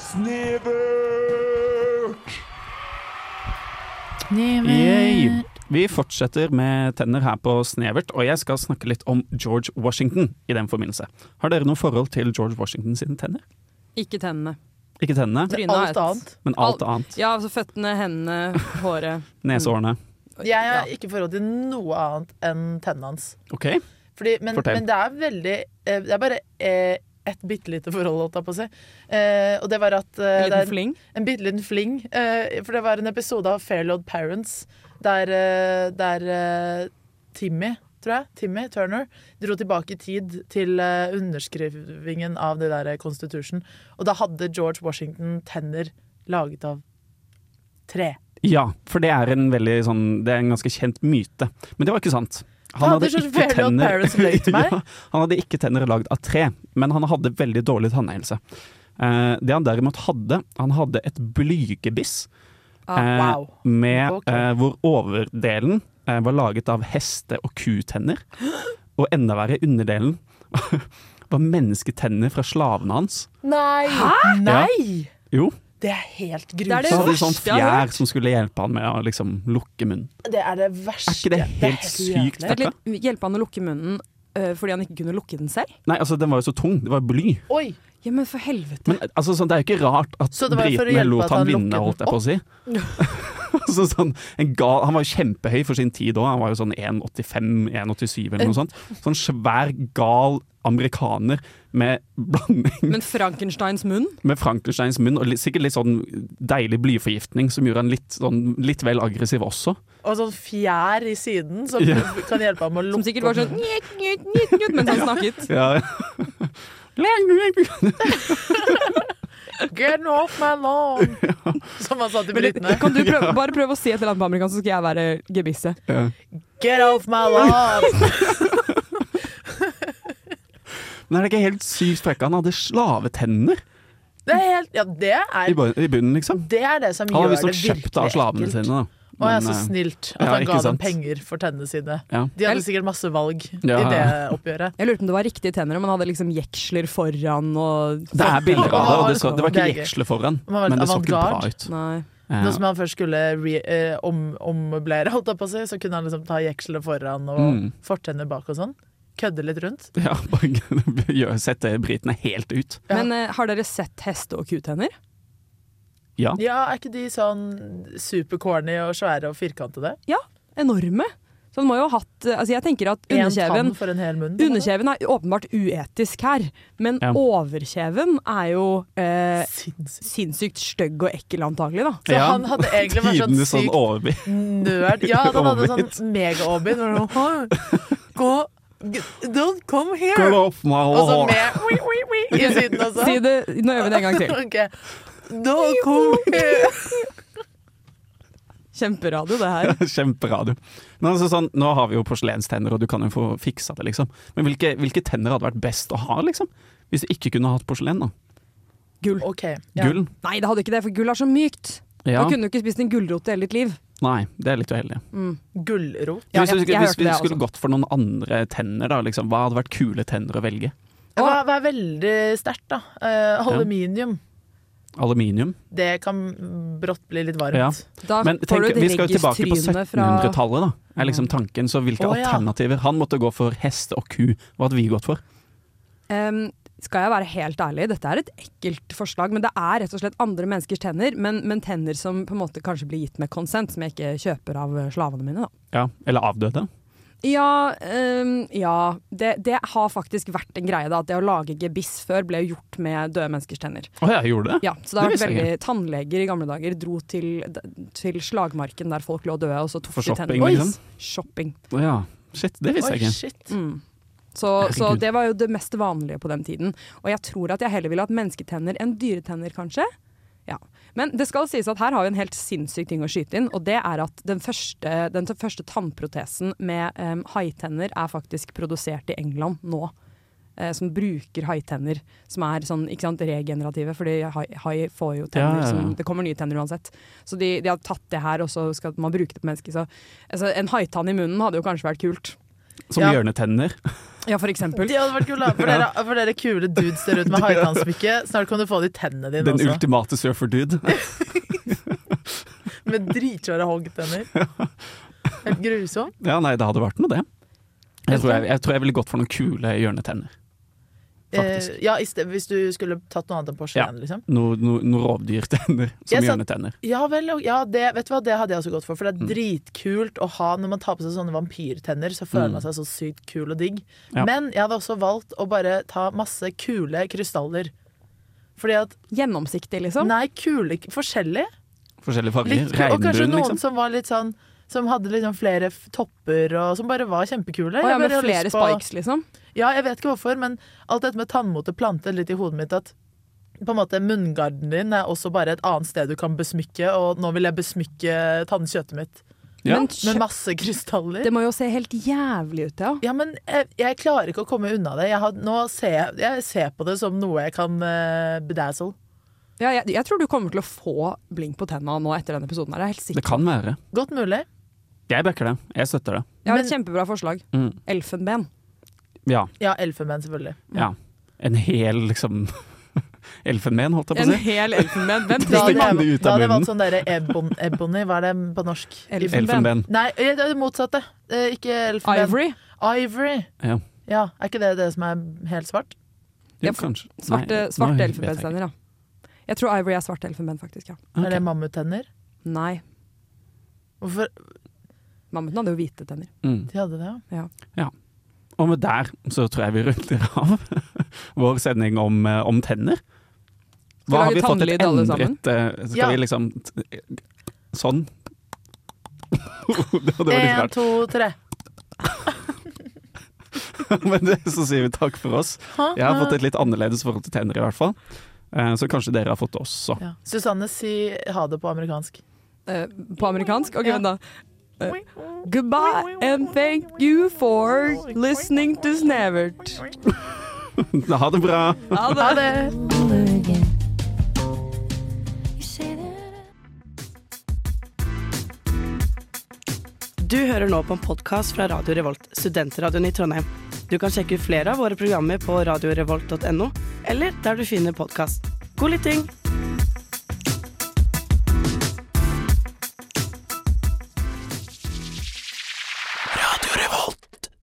Speaker 11: Snevert!
Speaker 7: Yay. Vi fortsetter med tenner her på Snevert, og jeg skal snakke litt om George Washington i den forbindelse. Har dere noe forhold til George Washington sine tenner?
Speaker 8: Ikke tennene.
Speaker 7: Ikke tennene,
Speaker 8: Trynet er
Speaker 9: Alt
Speaker 8: et-
Speaker 9: annet.
Speaker 7: men alt annet.
Speaker 8: Ja, altså føttene, hendene, håret. Mm.
Speaker 7: Nesehårene.
Speaker 9: Jeg
Speaker 8: Ja.
Speaker 9: har ikke forhold til noe annet enn tennene hans.
Speaker 7: OK.
Speaker 9: Fordi, men,
Speaker 7: Fortell.
Speaker 9: men det er veldig eh, Det er bare eh, et bitte lite forhold, holdt jeg på å si. Eh, og det var at eh, det
Speaker 8: Liten
Speaker 9: er
Speaker 8: fling.
Speaker 9: en bitte liten fling. Eh, for det var en episode av Fairlord Parents der, eh, der eh, Timmy, tror jeg, Timmy Turner, dro tilbake i tid til eh, underskrivingen av det der eh, Constitution. Og da hadde George Washington tenner laget av tre.
Speaker 7: Ja, for det er en veldig sånn Det er en ganske kjent myte. Men det var ikke sant. Han hadde
Speaker 9: Fader, så
Speaker 7: ikke
Speaker 9: fair not
Speaker 7: tenner
Speaker 9: parents løy til meg.
Speaker 7: ja, Han hadde ikke tenner lagd av tre, men han hadde veldig dårlig tannhelse. Eh, det han derimot hadde, han hadde et blygebiss eh,
Speaker 9: Ah, wow.
Speaker 7: med,
Speaker 9: Ok.
Speaker 7: eh, hvor overdelen eh, var laget av heste- og kutenner. Og enda verre, underdelen var mennesketenner fra slavene hans.
Speaker 9: Nei! Nei!
Speaker 7: Jo,
Speaker 9: Det er helt
Speaker 8: er det
Speaker 9: grusomt.
Speaker 7: så hadde de
Speaker 8: verste
Speaker 7: sånn
Speaker 8: jeg har hørt.
Speaker 7: fjær som skulle hjelpe han med å liksom lukke munnen.
Speaker 9: Det er det verste.
Speaker 7: Er ikke det helt sykt
Speaker 9: jævlig.
Speaker 7: fett?
Speaker 8: Vent litt, Hjelpe han å lukke munnen øh, fordi han ikke kunne lukke den selv?
Speaker 7: Nei, altså den var jo så tung, det var bly.
Speaker 9: Oi,
Speaker 8: Ja, men for helvete.
Speaker 7: Men altså, sånn, det er jo ikke rart at
Speaker 9: Så det var for å
Speaker 7: britene
Speaker 9: hjelpe at
Speaker 7: lot han
Speaker 9: han
Speaker 7: vinne,
Speaker 9: lokket
Speaker 7: holdt jeg på å si. altså, sånn, en gal, han var jo kjempehøy for sin tid òg, han var jo sånn 1,85-1,87 eller noe sånt. Sånn svær, gal amerikaner med blanding
Speaker 8: Men Frankensteins munn?
Speaker 7: med Frankensteins munn, og litt, sikkert litt sånn deilig blyforgiftning som gjorde han litt, sånn, litt vel aggressiv også.
Speaker 9: Og sånn fjær i siden som
Speaker 7: Ja.
Speaker 9: kan hjelpe ham å lukke
Speaker 8: Som sikkert var sånn njet, njet, njet, njet, mens han snakket.
Speaker 7: Ja.
Speaker 9: opp. Get off my lawn! Som han sa til
Speaker 8: Men
Speaker 9: britene.
Speaker 8: kan du prøve, bare prøve å si et eller annet på amerikansk, så skal jeg være gebisset.
Speaker 9: Get off my lawn!
Speaker 7: Men er det ikke helt sykt frekka? Han hadde slavetenner
Speaker 9: Det er helt Ja, det
Speaker 7: i,
Speaker 9: er
Speaker 7: bu- i bunnen, liksom.
Speaker 9: det, er det som
Speaker 7: Han
Speaker 9: gjør
Speaker 7: hadde
Speaker 9: det
Speaker 7: visstnok
Speaker 9: virkelig
Speaker 7: kjøpt av slavene
Speaker 9: ekkelt.
Speaker 7: sine. Da.
Speaker 9: Å, jeg er
Speaker 7: Men,
Speaker 9: så
Speaker 7: eh,
Speaker 9: snilt at
Speaker 7: ja,
Speaker 9: han ga
Speaker 7: ikke
Speaker 9: dem
Speaker 7: sant.
Speaker 9: penger for tennene sine.
Speaker 7: Ja.
Speaker 9: De hadde sikkert masse valg i
Speaker 7: Ja.
Speaker 9: det oppgjøret.
Speaker 8: Jeg lurte om det var riktige tenner, om han hadde liksom jeksler foran og
Speaker 7: Det er bilder av det, og det, så, det var ikke
Speaker 9: Det er gøy.
Speaker 7: jeksle foran,
Speaker 9: Man var litt
Speaker 7: men det så ikke bra
Speaker 9: avantgarde.
Speaker 7: ut.
Speaker 8: Nei.
Speaker 7: Ja.
Speaker 9: Nå som han først skulle re, eh, om, ommøblere, holdt jeg på å si, så kunne han liksom ta jekselet foran og
Speaker 7: Mm.
Speaker 9: fortenner bak og sånn. Kødde litt rundt.
Speaker 7: Ja, bare gjør- sette britene helt ut.
Speaker 9: Ja.
Speaker 8: Men eh, har dere sett heste- og kutenner?
Speaker 7: Ja.
Speaker 9: Ja, er ikke de sånn supercorny og svære og firkantede?
Speaker 8: Enorme. Så han må jo ha hatt eh, Altså, jeg tenker at
Speaker 9: En
Speaker 8: underkjeven
Speaker 9: tann for en hel munn. på en måte.
Speaker 8: Underkjeven er åpenbart uetisk her, men
Speaker 7: Ja.
Speaker 8: overkjeven er jo eh,
Speaker 9: Sinnssykt.
Speaker 8: sinnssykt stygg og ekkel, antagelig, da.
Speaker 9: Så han hadde egentlig vært sånn
Speaker 7: Tidenes sånn
Speaker 9: sykt
Speaker 7: overbit.
Speaker 9: nerd. Ja, at han hadde
Speaker 7: Overbit.
Speaker 9: sånn mega-Obin. og sånn, «Hå, Gå g- Don't come
Speaker 7: Cut
Speaker 9: here!
Speaker 7: off my
Speaker 9: Og så
Speaker 7: hår.
Speaker 9: med oi, oi, oi, i siden også.
Speaker 8: Si det, nå gjør vi det en gang til.
Speaker 9: Ok. Don't come here!
Speaker 8: Kjemperadio, det her.
Speaker 7: Kjemperadio. Men altså sånn, nå har vi jo porselenstenner, og du kan jo få fiksa det, liksom. Men hvilke, hvilke tenner hadde vært best å ha, liksom? Hvis du ikke kunne hatt porselen, da.
Speaker 8: Gull.
Speaker 9: Ok, ja.
Speaker 7: Gull?
Speaker 8: Nei, det hadde ikke det, for gull er så mykt.
Speaker 7: Ja.
Speaker 8: Da kunne du ikke spist en gulrot i hele ditt liv.
Speaker 7: Nei, det er litt uheldig.
Speaker 9: Gullrot.
Speaker 8: Ja,
Speaker 7: hvis du,
Speaker 8: jeg- jeg
Speaker 7: hvis
Speaker 8: hørte
Speaker 7: vi
Speaker 8: det,
Speaker 7: skulle
Speaker 8: altså.
Speaker 7: gått for noen andre tenner, da, liksom, hva hadde vært kule tenner å velge?
Speaker 9: Hva, hva er veldig sterkt, da? Eh, aluminium.
Speaker 7: Aluminium?
Speaker 9: Det kan brått bli litt varmt.
Speaker 7: Ja.
Speaker 8: Da
Speaker 7: Men
Speaker 8: får
Speaker 7: tenk,
Speaker 8: du
Speaker 7: vi
Speaker 8: et
Speaker 7: skal jo tilbake på
Speaker 8: reggistryne fra Mm.
Speaker 7: 1700-tallet, da. Er liksom tanken. Så hvilke
Speaker 9: Å, ja.
Speaker 7: alternativer? Han måtte gå for hest og ku. Hva hadde vi gått for?
Speaker 8: Ehm, Skal jeg være helt ærlig, dette er et ekkelt forslag, men det er rett og slett andre menneskers tenner, men, men tenner som på en måte kanskje blir gitt med konsent, som jeg ikke kjøper av eh, slavene mine, da.
Speaker 7: Ja, Eller avdøde?
Speaker 8: Ja, ehm, ja. Det, det har faktisk vært en greie, da. At det å lage gebiss før ble jo gjort med døde menneskers tenner.
Speaker 7: Å ja, gjorde det?
Speaker 8: Ja, så det har
Speaker 7: Det
Speaker 8: vært
Speaker 7: visste jeg
Speaker 8: veldig Tannleger i gamle dager dro til, til slagmarken der folk lå døde, og så tok
Speaker 7: For
Speaker 8: de tenner.
Speaker 7: shopping,
Speaker 8: Oi,
Speaker 7: liksom?
Speaker 8: Shopping.
Speaker 7: Å ja. Shit, det visste
Speaker 9: Oi,
Speaker 7: jeg ikke. Mm.
Speaker 9: shit.
Speaker 8: Så, så
Speaker 7: Herregud.
Speaker 8: det var jo det mest vanlige på den tiden. Og jeg tror at jeg heller ville hatt mennesketenner enn dyretenner, kanskje. Ja. Men det skal sies at her har vi en helt sinnssyk ting å skyte inn, og det er at den første, den første tannprotesen med em, haitenner er faktisk produsert i England nå. eh, Som bruker haitenner, som er sånn, ikke sant, regenerative. Fordi hai, hai får jo
Speaker 7: Ja,
Speaker 8: tenner
Speaker 7: ja, ja.
Speaker 8: Som, Det kommer nye tenner uansett. Så de, de har tatt det her, og så skal man bruke det på mennesker. Så, altså, en haitann i munnen hadde jo kanskje vært kult.
Speaker 7: Som
Speaker 9: Ja.
Speaker 7: hjørnetenner.
Speaker 8: Ja, for eksempel.
Speaker 9: De hadde vært kule. For dere, for dere kule dudes der ute med haitannsmykke, snart kan du få det i tennene dine
Speaker 7: Den
Speaker 9: også.
Speaker 7: ultimate surfer-dude.
Speaker 9: Med dritsvære hoggtenner. Helt grusomt.
Speaker 7: Ja, nei, det hadde vært noe, det. Jeg tror jeg, jeg, tror jeg ville gått for noen kule hjørnetenner. Faktisk.
Speaker 9: Eh, ja, i sted, hvis du skulle tatt noe annet enn
Speaker 7: Ja.
Speaker 9: porselen, liksom.
Speaker 7: Noe no, no rovdyrtenner som
Speaker 9: Jeg satt-
Speaker 7: hjørnetenner.
Speaker 9: Ja vel, og- ja, det, vet du hva, det hadde jeg også gått for. For det er dritkult å ha Når man tar på seg sånne vampyrtenner, så føler
Speaker 7: Mm.
Speaker 9: man seg så sykt kul og digg.
Speaker 7: Ja.
Speaker 9: Men jeg hadde også valgt å bare ta masse kule krystaller. Fordi at
Speaker 8: Gjennomsiktig, liksom?
Speaker 9: Nei, kule Forskjellig.
Speaker 7: Forskjellige farger.
Speaker 9: Litt, kul- og kanskje
Speaker 7: Regnbuen,
Speaker 9: noen
Speaker 7: liksom.
Speaker 9: som var litt sånn Som hadde liksom flere f- topper, og som bare var kjempekule.
Speaker 8: Å ja,
Speaker 9: Jeg
Speaker 8: med
Speaker 9: bare har
Speaker 8: flere
Speaker 9: lyst på-
Speaker 8: spikes, liksom?
Speaker 9: ja, jeg vet ikke hvorfor, men alt dette med tannmote plantet litt i hodet mitt at på en måte munngarden din er også bare et annet sted du kan besmykke, og nå vil jeg besmykke tannkjøttet mitt
Speaker 7: Ja.
Speaker 8: Men kjø-
Speaker 9: med masse krystaller.
Speaker 8: det må jo se helt jævlig ut, ja.
Speaker 9: Ja, men jeg, jeg klarer ikke å komme unna det. Jeg, har, nå ser, jeg- jeg ser på det som noe jeg kan uh, bedazzle.
Speaker 8: ja jeg, jeg tror du kommer til å få blink på tenna nå etter denne episoden. her, Jeg er helt
Speaker 7: Det
Speaker 8: sikker.
Speaker 7: kan være.
Speaker 9: Godt mulig.
Speaker 7: Jeg backer det. Jeg støtter det.
Speaker 8: Jeg har
Speaker 9: men-
Speaker 8: et kjempebra forslag.
Speaker 7: Mm.
Speaker 8: Elfenben.
Speaker 7: Ja.
Speaker 9: Ja, elfenben selvfølgelig.
Speaker 7: ja. En hel, liksom Elfenben, holdt jeg på
Speaker 8: En
Speaker 7: å si.
Speaker 8: hel elfenben. Hvem
Speaker 9: Da
Speaker 7: Hvis
Speaker 8: trenger
Speaker 9: hadde
Speaker 7: det kom
Speaker 9: jeg,
Speaker 7: ut
Speaker 9: da
Speaker 7: av
Speaker 9: hadde jeg
Speaker 7: munnen.
Speaker 9: valgt sånn derre ebon, ebony, hva er det på norsk?
Speaker 8: Elfenben.
Speaker 7: Elfenben.
Speaker 9: Nei, det er det motsatte. Eh, ikke elfenben.
Speaker 8: Ivory.
Speaker 9: Ivory.
Speaker 7: Ja.
Speaker 9: Ja, Er ikke det det som er helt svart?
Speaker 7: Jo,
Speaker 8: Ja, for-
Speaker 7: kanskje.
Speaker 8: Svarte,
Speaker 7: Nei, nei,
Speaker 8: svarte
Speaker 7: vet jeg ikke.
Speaker 8: elfenbenstenner, ja. Jeg tror Ivory er svart elfenben, faktisk. ja.
Speaker 7: Ok.
Speaker 9: Er det mammuttenner?
Speaker 8: Nei.
Speaker 9: Hvorfor
Speaker 8: Mammuten hadde jo hvite tenner.
Speaker 7: Mm.
Speaker 9: de hadde det? ja?
Speaker 7: Og med der så tror jeg vi runder av vår sending om, eh, om tenner.
Speaker 8: Skal vi lage tannlyd alle sammen?
Speaker 7: eh, Skal
Speaker 9: Ja.
Speaker 7: vi liksom t- Sånn. det hadde vært
Speaker 8: Eh,
Speaker 7: litt
Speaker 9: En,
Speaker 7: rart.
Speaker 9: to, tre.
Speaker 7: Men det, så sier vi takk for oss. Jeg har fått et litt annerledes forhold til tenner, i hvert fall. Eh, Så kanskje dere har fått det også.
Speaker 9: ja. Susanne, si ha det på amerikansk.
Speaker 8: Eh, på amerikansk? Ok,
Speaker 9: Ja.
Speaker 8: vent da. Eh, goodbye and thank you for listening to Snevert.
Speaker 7: Ha det bra!
Speaker 8: Ha det!
Speaker 9: Ha det!
Speaker 12: Du hører nå på en podkast fra Radio Revolt, studentradioen i Trondheim. Du kan sjekke ut flere av våre programmer på radiorevolt.no, eller der du finner podkast. God lytting!